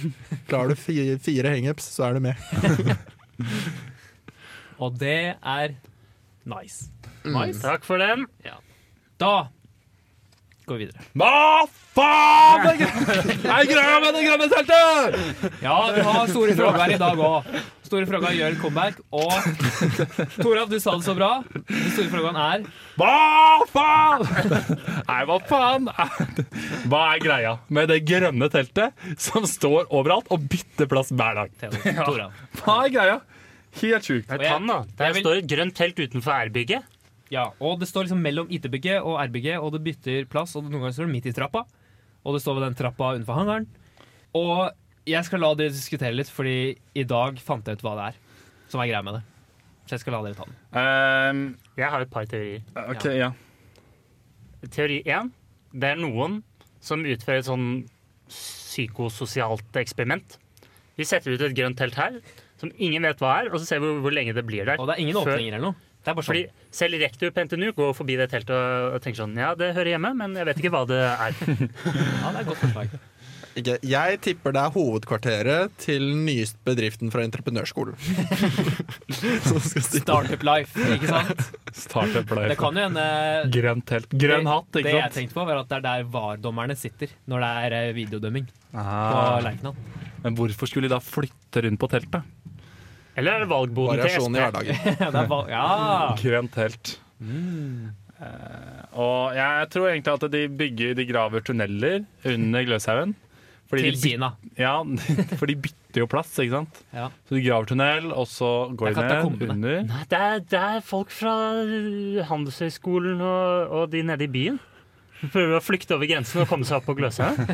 Klarer du fi- fire hangups, så er du med. Mm. Og det er nice. Takk for den. Da går vi videre. Hva faen er gre- er greia med det grønne teltet?! Ja, vi har store frågor i dag òg. Store frågor Jørn Komberg og Toralf, du sa det så bra. Den store frågan er Hva faen?! Nei, hva faen? Hva er greia med det grønne teltet som står overalt og bytter plass hver dag? Theodor, Toralf. Hva er greia? Helt sjukt. Det Og er jeg- tann, da. Der jeg vil- står et grønt telt utenfor ærbygget. Ja, og det står liksom mellom IT-bygget og R-bygget, og det bytter plass, og noen ganger står det midt i trappa, og det står ved den trappa utenfor hangaren. Og jeg skal la dere diskutere litt, fordi i dag fant jeg ut hva det er som er greia med det. Så jeg skal la dere ta den. Ehm, Jeg har et par teorier. OK, ja. Teori én, det er noen som utfører et sånn psykososialt eksperiment. Vi setter ut et grønt telt her, som ingen vet hva er, og så ser vi hvor, hvor lenge det blir der. Og det er ingen Før- åpninger eller noe. Det er bare sånn. Fordi selv rektor på NTNU går forbi det teltet og og tenker sånn Ja, det hører hjemme, men jeg vet ikke hva det er. Ja, det er et godt forslag. Ikke- Jeg tipper det er hovedkvarteret til den nyeste bedriften fra entreprenørskolen. Som skal sitte Startup life, ikke sant? Startup Det kan jo hende Grønt telt. Grønn hatt, Det ikke jeg sant? tenkte på, var at det er der VAR-dommerne sitter når det er eh, videodømming på Ah, Lerkendal. men hvorfor skulle de da flytte rundt på teltet? Eller er det valgboden til variasjon i Espen? hverdagen. Ja, det er val- ja. Grønt telt. Eh, og jeg tror egentlig at de bygger De graver tunneler under Gløshaugen. fordi de Til byt- Kina. Ja, for de bytter jo plass, ikke sant? Ja. Så de graver tunnel, og så går Det de er ned katakombene. under. Nei, det er, det er folk fra Handelshøyskolen og, og de nede i byen. som Prøver å flykte over grensen og komme seg opp på Gløshaugen.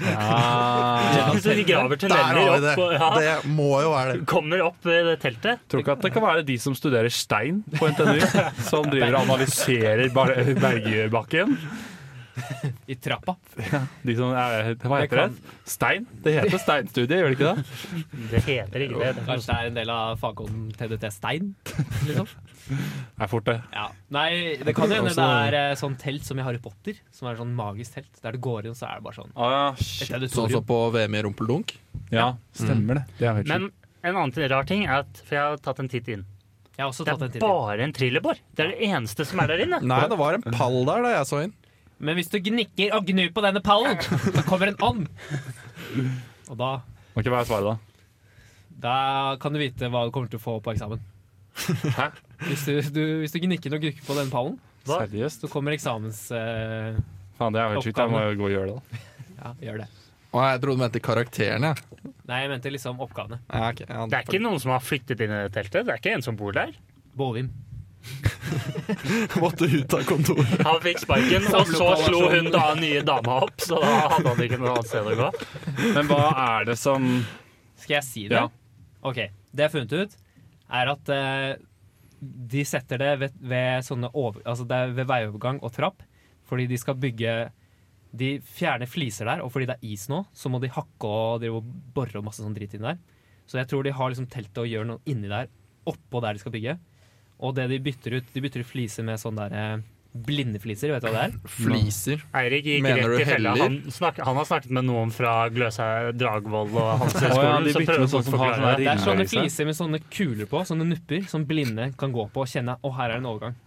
Så de graver Der har vi tunneler det! opp og ja, Det må jo være det. kommer opp ved det teltet. Tror ikke at det kan være de som studerer stein på NTNU, som driver og analyserer bar- bergbakken. I trappa. De som er, hva Det heter kan- det? Stein? Det heter steinstudie, gjør det ikke det? Det heter ikke det. det. er noe Kanskje det er en del av fagkoden TDT Stein? Liksom. Det er fort, det. Ja. Nei, det kan jo hende det er eh, sånn telt som i Harry Potter, som er sånn magisk telt. Der det går inn, så er det bare sånn. Ah, Et shit. Sånn som auditorium. på VM i rumpeldunk. ja, stemmer det. Det er helt sånt. Men en annen ting- rar ting er at For jeg har tatt en titt inn. Jeg har også Det tatt en er til. bare en trillebår. Det er det eneste som er der inne. Nei, det var en pall der da jeg så inn. Men hvis du gnikker og gnur på denne pallen, så kommer en ånd. Og da, sjukt. Ok, Hva er svaret, da? da kan du vite hva du kommer til å få på eksamen. Hæ? Hvis du, du, hvis du gnikker og gnukker på den pallen, Hva? Seriøst? så kommer eksamens... eh, Faen, det er helt sjukt. Jeg må jo gå og gjøre det. da. ja, gjør det. Å, jeg trodde du mente karakterene. jeg. Nei, jeg mente liksom oppgavene. Ja, ok, ja, Det er ikke noen som har flyttet inn i det teltet. Det er ikke en som bor der. Bovim. Måtte ut av kontoret. Han fikk sparken, og så slo hun da nye dama opp, så da hadde han ikke noe annet sted å gå. Men hva er det som Skal jeg si det? Ja. Ok, det jeg har funnet ut er at eh, de setter det ved, ved, sånne over, altså det er ved veiovergang og trapp, fordi de skal bygge De fjerner fliser der, og fordi det er is nå, så må de hakke og drive og bore og masse sånn dritt inn der. Så jeg tror de har liksom teltet og gjør noe inni der, oppå der de skal bygge. Og det de bytter ut, de bytter ut fliser med sånn der eh, blindefliser, vet du hva det er? Fliser. Eirik gikk Mener du rett i fella. heller? Han, snak, han har snakket med noen fra Gløshaug, Dragvoll og Hanseskolen. Å ja, de som bytter prøver med sånn å som har forklare sånn det. Det er sånne Innreise. fliser med sånne kuler på, sånne nupper, som blinde kan gå på og kjenne Å, her er en overgang.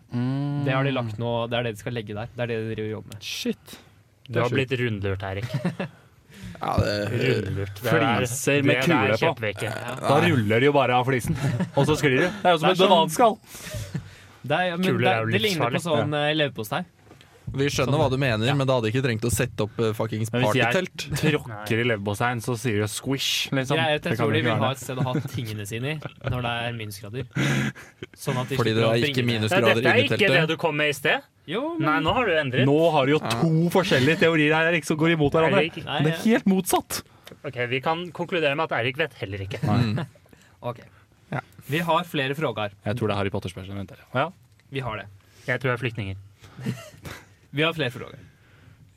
Det har de lagt nå, det er det de skal legge der. Det er det de driver og jobber med. Shit. Du har blitt rundlurt, Eirik. Ja, det, Rundlurt. Fliser med kuler på. på. Da ruller de jo bare av flisen, og så sklir de. Det er jo som Det et er sånn- bananskall. Det, er, men Kuler det, er jo det ligner livsfarlig. på sånn eh, leverpostei. vi skjønner hva du mener, men da hadde jeg ikke trengt å sette opp eh, fuckings Men hvis jeg partytelt. tråkker i leverposteien, så sier det squish, liksom. Greia er at Det Jeg kan tror vi de ikke vil ha gjøre. et sted å ha tingene sine i når det er minusgrader. Sånn at de Fordi slipper det å er bringe ikke det. Ja, minusgrader dette er inne i ikke det teltet. du kom med i sted. Jo, men Nei, nå har du endret. Nå har du jo to forskjellige teorier her Erik, som går imot hverandre. Eirik, Nei, Det er helt motsatt. ok, Vi kan konkludere med at Eirik vet heller ikke. OK. Vi har flere spørsmål. Jeg tror det er Harry Potter-spørsmål. vent her. Ja. Vi har det. Jeg tror jeg er flyktninger. Vi har flere spørsmål. ja.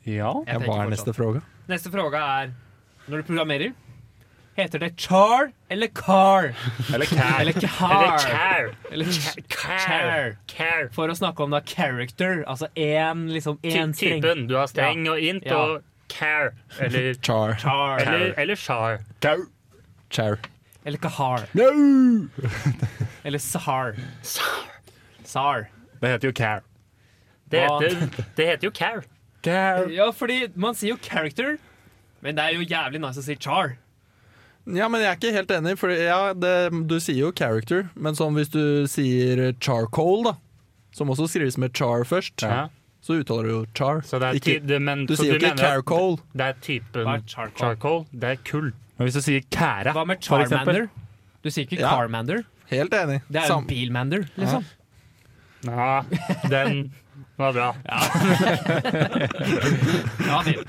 Jeg Ja, tenker hva fortsatt. er neste fråga? Neste fråga er Når du programmerer, heter det char eller car? Eller Eller care. Eller car? care. Eller ch- Care. Care. for å snakke om da character, altså én liksom, Ty en streng typen. Du har streng og int Ja. og care. Eller Char. char Eller, eller char. Kau. Char. eller kahar Kau. eller sahar. Sar. Det heter jo care. Det Hva? heter, det heter jo care. Care. Ja, fordi man sier jo character, men det er jo jævlig nice å si char. Ja, men jeg er ikke helt enig, for ja, det, du sier jo character, men sånn hvis du sier charcoal, da, som også skrives med char først, Ja. så uttaler du jo char. Så det er ikke, ty det, men, du så sier jo ikke mener at carcoal. Det er typen Hva er charcoal? charcoal. Det er kull. Men hvis du sier kære, Hva med for eksempel charmander? Du sier ikke Ja. carmander. Helt enig. Det er jo Sam- en bilmander, liksom. Ja, den var bra. Ja, det-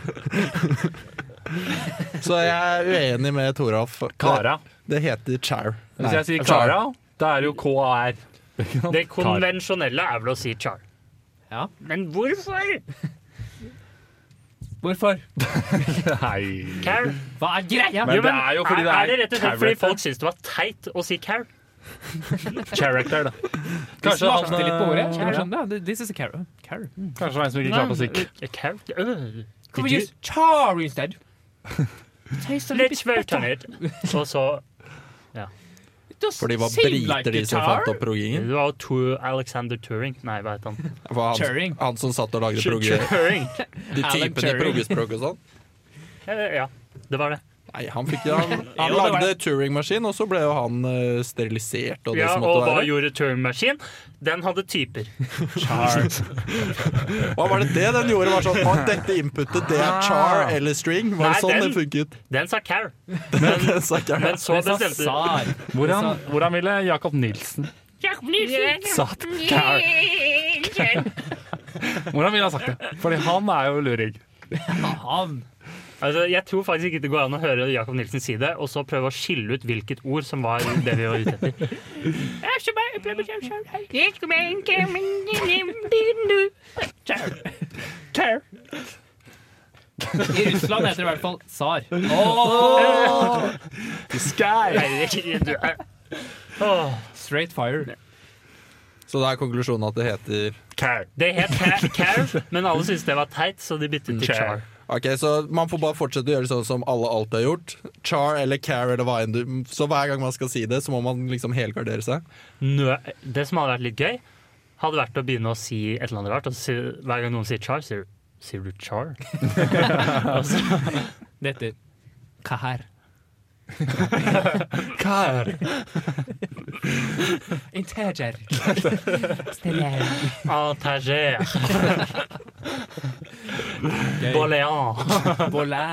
Så jeg er uenig med Toralf. Det, Kara. det heter char. Hvis jeg sier Char. Kara, da er det jo KAR. Det konvensjonelle er vel å si char. Ja. Men hvorfor? Hvorfor? Nei. Care? Hva er greia? Men det er jo fordi det er er det rett og slett fordi character. folk syns det var teit å si care? Character, da. Vi Kanskje han, smakte litt på ordet. eh, Jeg skjønner det. sånn. This is a car. car. Mm. Kanskje det var en som ikke klarte å si Care? Øh. Can we use char instead? Taste a little Let's bit vote on better. it. Og så It doesn't For de var seem briter, like a de som char. fant opp progingen. Det var jo Tor- Alexander Turing. Nei, hva het han? Det var Han, Turing. han som satt og lagde progge, Turing. de Alan typene i Turing. proggespråk og sånn. Eh, Ja, det var det. Nei, han, fikk, han, han Jo, det var lagde Turing-maskin, og så ble jo han eh, sterilisert og det Ja, som og måtte hva være. gjorde Turing-maskin? Den hadde typer. Hva var det det den gjorde? Var sånn, «Å, Dette inputet, det er char eller string. Var Ah. Nei, det sånn den- det funket? Den sa care. Den saken her. Men så Sa bestemte Sar. hvordan, hvordan ville Jacob Nilsen sagt Kara? Hvordan ville han sagt det? Fordi han er jo luring. Han. Altså, jeg tror faktisk ikke det går an å høre Jacob Nilsen si det, og så prøve å skille ut hvilket ord som var det vi var ute etter. I Russland heter det i hvert fall Sar. Sky. Eirik, du er Åh. Straight fire. Så da er konklusjonen at det heter Kara. Det het Ca- Care, men alle syntes det var teit, så de byttet til Char. Char. Ok, så Man får bare fortsette å gjøre sånn som alle alltid har gjort. Char eller care eller hva enn du Så hver gang man skal si det, så må man liksom helgardere seg. Nø. Det som hadde vært litt gøy, hadde vært å begynne å si et eller annet rart. Og så, sier- hver gang noen sier Char, sier, sier du Char? Det heter Kahar. Kara. Integer. Steller. Antagé. Boléan. Bolé.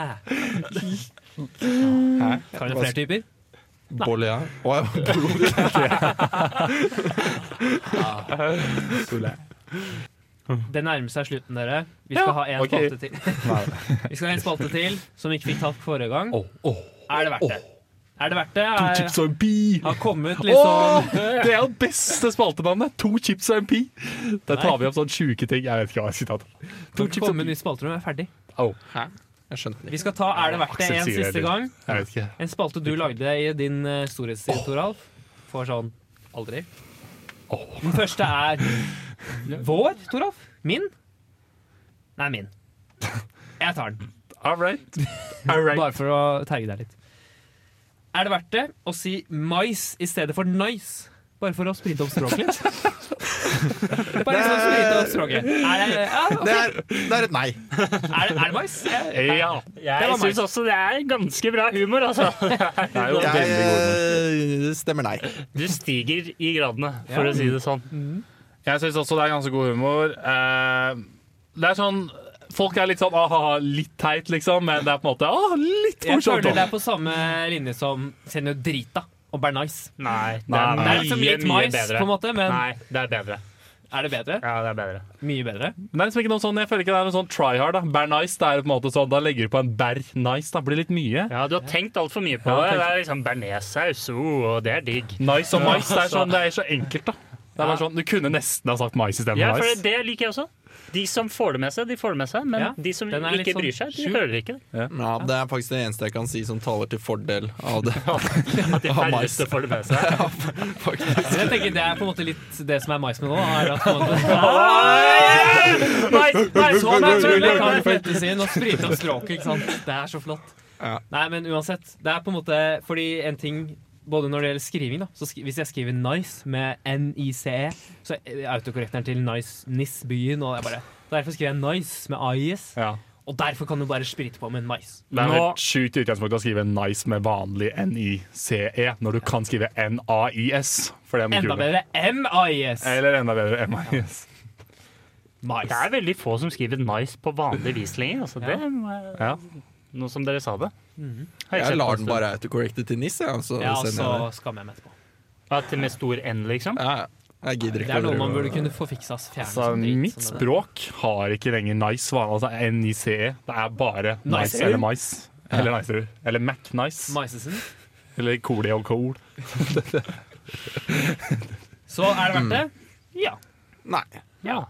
Har dere flere typer? Bolia. Å, ja. Det nærmer seg slutten, dere. Vi skal Ja, ha en ok. spalte til. Vi skal ha en spalte til som vi ikke fikk tatt forrige gang. Åh, åh. Er det verdt det? Er det verdt det? Er, Chips og en pi. har kommet litt liksom- Åh, sånn det er jo beste spaltenavnet! To chips og en pi. sånn Der tar vi opp sånne sjuke ting. Jeg vet ikke hva jeg sitat. To chips og en ny spalte når vi er ferdig. Au. Jeg skjønte det Vi skal ta Er det verdt det Aksel en sier det siste litt. gang. Jeg vet ikke. En spalte du lagde i din eh, storhetstid, Toralf. For sånn aldri. Den første er vår, Toralf. Min. Nei, min. Jeg tar den, All right. All right. bare for å terge deg litt. Er det verdt det å si mais i stedet for nice? Bare for å sprite opp språket litt. Bare for å sprite opp språket. Er det, ja, ok. Det er, det er et nei. er det, er det mais? Ja. Det var Jeg meg. syns også det er ganske bra humor, altså. Det er jo Jeg veldig god. eh, stemmer nei. Du stiger i gradene, for Ja. å si det sånn. Jeg syns også det er ganske god humor. Eh, det er sånn Folk er litt sånn ah-ha, litt teit, liksom, men det er på en måte ah, litt Jeg sånn, føler morsomt. det også. er på samme linje som Senodrita og Bernice. Nei, det Nei, nei. er, Det mye, er liksom litt mye mais, bedre. på en måte, men Nei, det er bedre. er det bedre? Ja, det er bedre. Mye bedre. Men det er liksom ikke noe sånn, Jeg føler ikke det er noe sånn try hard. da. Bær nice, det er på en måte sånn, da legger du på en bær nice. Da blir det litt mye. Ja, du har tenkt altfor mye på Ja, jeg det. Det er liksom bearnéssaus, oh, og det er digg. Nice og mais, det er, sånn, det er så enkelt, da. Det er bare sånn, Du kunne nesten ha sagt mais Ja, istedenfor for nice. det liker jeg også. De som får det med seg, de får det med seg. Men Ja, de som den er litt ikke sånn bryr seg, de skjult. hører ikke det. Ja, det er faktisk det eneste jeg kan si som taler til fordel av det. At de Ah, mais. færreste får det med seg. Men jeg tenker Det er på en måte litt det som er mais med nå. Er at på en måte, Mais, mais, så naturlig kan flyttes inn og sprite opp språket. ikke sant? Det er så flott. Ja. Nei, men uansett. Det er på en måte Fordi en ting både når det gjelder skriving, da. Så skri, hvis jeg skriver 'nice' med N-I-C-E, E, så er autokorrekteren til nice, NIS-byen, og jeg bare Derfor skriver jeg 'nice' med AIS, Ja. og derfor kan du bare sprite på med en mais. Det er Nå- helt sjukt i utgangspunktet å skrive nice med vanlig n-i-c-e, E, når du kan skrive n-a-i-s. For det er mye Enda kulere. bedre M-A-I-s. Eller enda bedre m-a-i-s. Mais. Det er veldig få som skriver 'nice' på vanlig vis lenger. Altså, det må jeg- Ja. Nå som dere sa det. Har Jeg sett på en lar den stund. bare autocorrecte til NIS, jeg. Så Ja, og sender jeg så det. skammer jeg meg etterpå. At det med stor N, liksom. Ja, ja. jeg gidder Det ikke er noe drive man og- burde kunne få fiksa. fjerne Så sånn drit Altså, mitt som det der. språk har ikke lenger nice hva- altså N-I-C-E. Det er bare nice Nicer. eller mais. Eller nicer. Eller Mac-nice. Maisesen. Eller Coli og Col. Så er det verdt Mm. det? Ja. Nei. Ja.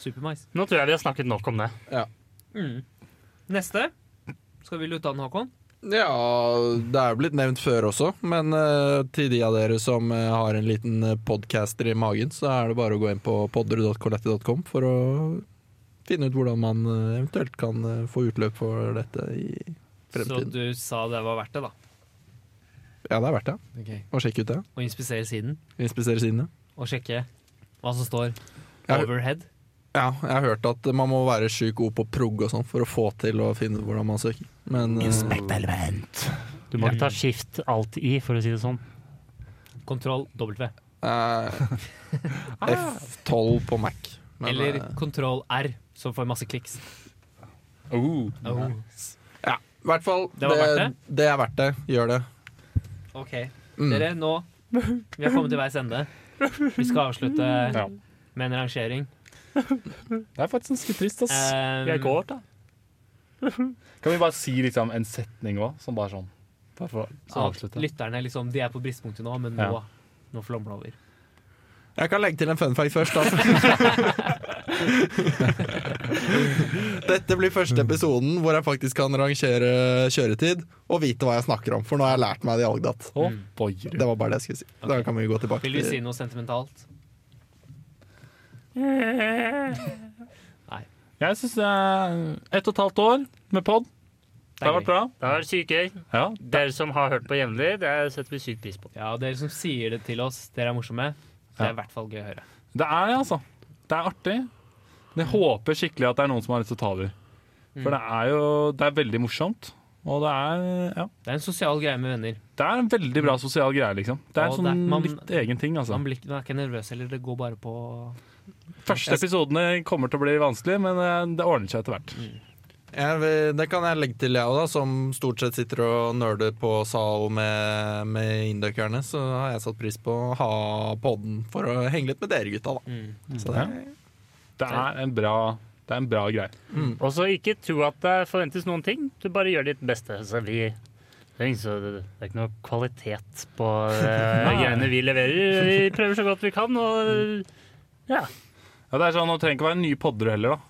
Supermais. Nå tror jeg vi har snakket nok om det. Ja. Neste. Skal vi lute an, Håkon? Ja, det er jo blitt nevnt før også, men eh, til de av dere som eh, har en liten eh, podcaster i magen, så er det bare å gå inn på podder.coletti.com for å finne ut hvordan man eh, eventuelt kan eh, få utløp for dette i Så fremtiden. du sa det var verdt det, da. Ja, det er verdt det. Å sjekke ut det. Og inspisere siden. Inspisere sidene. Og sjekke hva som står Ja. overhead. Ja, jeg har hørt at man må være sjukt god på progg og sånn for å få til å finne ut hvordan man søker. Men eh, Du må ikke ta skift alt i, for å si det sånn. Kontroll W. eh, F12 på Mac. Men, Eller eh, kontroll R, som får masse kliks. Oh. Mm. Oh. Ja, i hvert fall. Det var verdt det? det er verdt det. Gjør det. OK. Mm. Dere, nå Vi har kommet til veis ende. Vi skal avslutte Ja. med en rangering. Det er faktisk ganske trist, ass. Um, Jeg går, da. Kan vi bare si liksom en setning òg, som bare sånn Bare for å Så at avslutte. lytterne liksom, de er på bristpunktet nå, men nå, Ja. nå flommer det over. Jeg kan legge til en fun fact først. Da. Dette blir første episoden hvor jeg faktisk kan rangere kjøretid og vite hva jeg snakker om, for nå har jeg lært meg det i Algdat. Å, Mm. boyer. Det var bare det jeg skulle si. Da kan vi gå tilbake Vil du si til noe sentimentalt? Jeg syns eh, ett og et halvt år med pod. Det har vært bra. Det er sykt gøy. Ja. Dere som har hørt på jevnlig, det setter vi sykt pris på. Ja, og dere som sier det til oss, dere er morsomme. Det Ja. er i hvert fall gøy å høre. Det er det, altså. Det er artig. Men Jeg håper skikkelig at det er noen som har lyst til å ta over. For det er jo det er veldig morsomt. Og det er ja, Det er en sosial greie med venner. det er en veldig bra sosial greie, liksom. Det er Og en sånn det- man- litt egen ting, altså. Man, blir, ikke- man er ikke nervøs heller, det går bare på Første episodene kommer til å bli vanskelig, men eh, det ordner seg etter hvert. Mm. jeg vil, Det kan jeg legge til, jeg òg, da, som stort sett sitter og nerder på sal med, med indøkerne. Så har jeg satt pris på å ha podden for å henge litt med dere gutta, da. Så det, Det er en bra, det er en bra greie. Og så ikke tro at det forventes noen ting. Du bare gjør ditt beste. Så vi det er, ingen så, det er ikke noe kvalitet på eh, greiene vi leverer. Vi prøver så godt vi kan, og ja. Ja, det er sånn, Nå trenger det ikke være nye podder heller, da.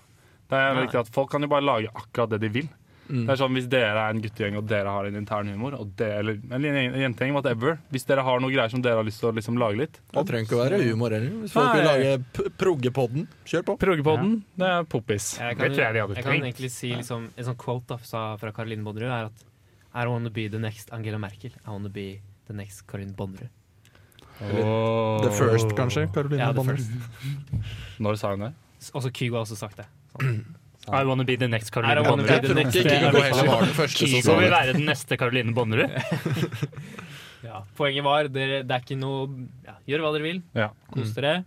Det Nei. er Mm. viktig at Folk kan jo bare lage akkurat det de vil. Det er sånn Hvis dere er en guttegjeng og dere har en intern humor, og det, eller, eller en jentegjeng, whatever Hvis dere har noe greier som dere har lyst til å liksom lage litt Det trenger ikke å være humor heller. Hvis folk vil Nei. lage p- proggepodden, kjør på. Proggepodden, det er poppis. Jeg Det tror jeg vi hadde jeg kan trengt. egentlig si liksom, En sånn quote da, sa- fra Caroline Bonnerud er at I wanna be the next Angela Merkel. I wanna be the next Caroline Bonnerud. The First, kanskje. Caroline Ja, the Bonner. first. Når sa hun det? S- Også Kygo har også sagt det. I wanna be the next I Caroline wanna be Bonnerud. Jeg the tror next- ikke Kygo heller var den første som Kygo sa vil det. være den neste Caroline Bonnerud. Ja. Poenget var dere, det er ikke noe ja, Gjør hva dere vil, Ja. kos dere.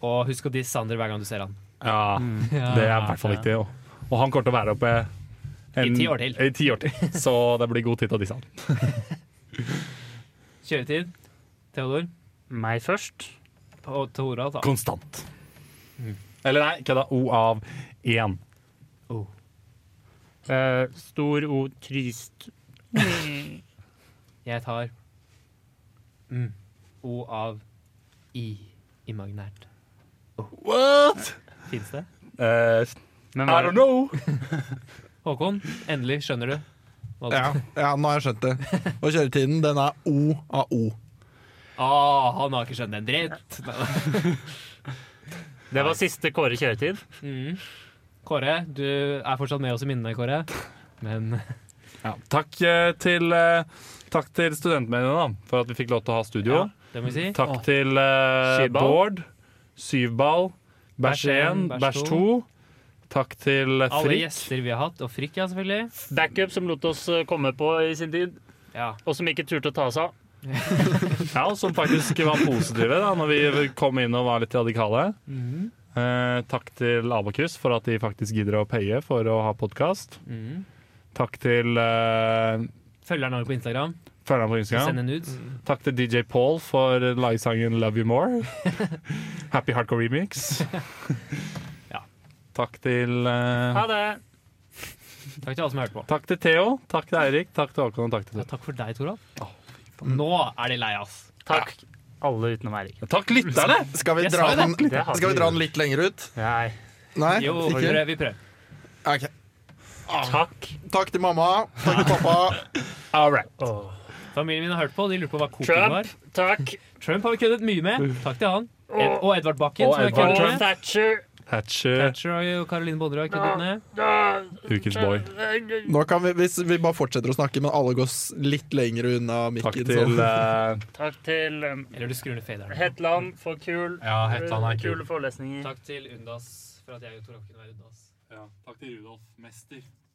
Og husk å disse Sander hver gang du ser han. ja. Mm. Det er i hvert fall viktig. Og, og han kommer til å være oppe en- I ti år til. I ti år til. Så det blir god tid til å disse han. Kjøretid. Theodor. Meg først. Og Tora, da. Konstant. Mm. Eller nei, kødda. O av én. Oh. Eh, stor O, trist Jeg tar mm, O av I. Imaginært. What? Fins det? Eh, Men I hva- don't know. Håkon, endelig skjønner du. hva det- Ja, ja, nå har jeg skjønt det. Og kjøretiden, den er O av O. Ah, han har ikke skjønt en dritt! Det var siste Kåre kjøretid. Mm. Kåre, du er fortsatt med oss i minnene, Kåre. Men Ja, takk, eh, til, eh, takk til studentmediene da, for at vi fikk lov til å ha studio. ja, det må vi si. Takk til eh, Syvball. Bård, Syvball, Bæsj Bæsj 1, en, Bæsj Bæsj 2. Takk til eh, Alle Frikk. gjester vi har hatt, og Frikk, ja, selvfølgelig. Backup som lot oss eh, komme på i sin tid, Ja, og som ikke turte å ta oss av. Ja, som faktisk var positive da når vi kom inn og var litt radikale. Eh, takk til Abakus for at de faktisk gidder å paye for å ha podkast. Mhm. Takk til eh, Følger han også på Instagram. følgerne på Sender Instagram. nudes. Takk til DJ Paul for lagesangen 'Love You More'. Happy Hardcore Remix. Ja. Takk til eh, Ha det! Takk til alle som har hørt på. Takk til Theo, takk til Eirik, takk til Håkon og takk til Ja, Tore. takk for deg, Toralf. Nå er de lei, ass. Takk alle utenom Eirik. Takk lytterne! Skal vi Jeg dra sa den, det. Det hadde skal vi vi dra gjort. den litt lenger ut? Nei. Nei? Jo, vi prøver. Ikke? Vi prøver. Ok. Ah. Takk. Takk til mamma. Takk til pappa. All right. Åh. Familien min har hørt på, de lurer på hva koking var. Trump. Takk. Trump har vi køddet mye med. Takk til han. Ed og Edvard Bakken. Og som vi har Edvard køddet Og med. Thatcher. Hatcher, Thatcher har jo Caroline Bonnerud har køddet med. Ah. ukens boy. Nå kan vi, hvis vi bare fortsetter å snakke, men alle går s- litt lenger unna Takk mikken. til så- eh, Takk til um, Eller du skrur ned faderen. Hetland for kul. Ja, Hetland er kul. Kule forelesninger. Takk til Undas Mm, for at jeg og Toralf kunne være Undas. Takk til Rudolf Mester.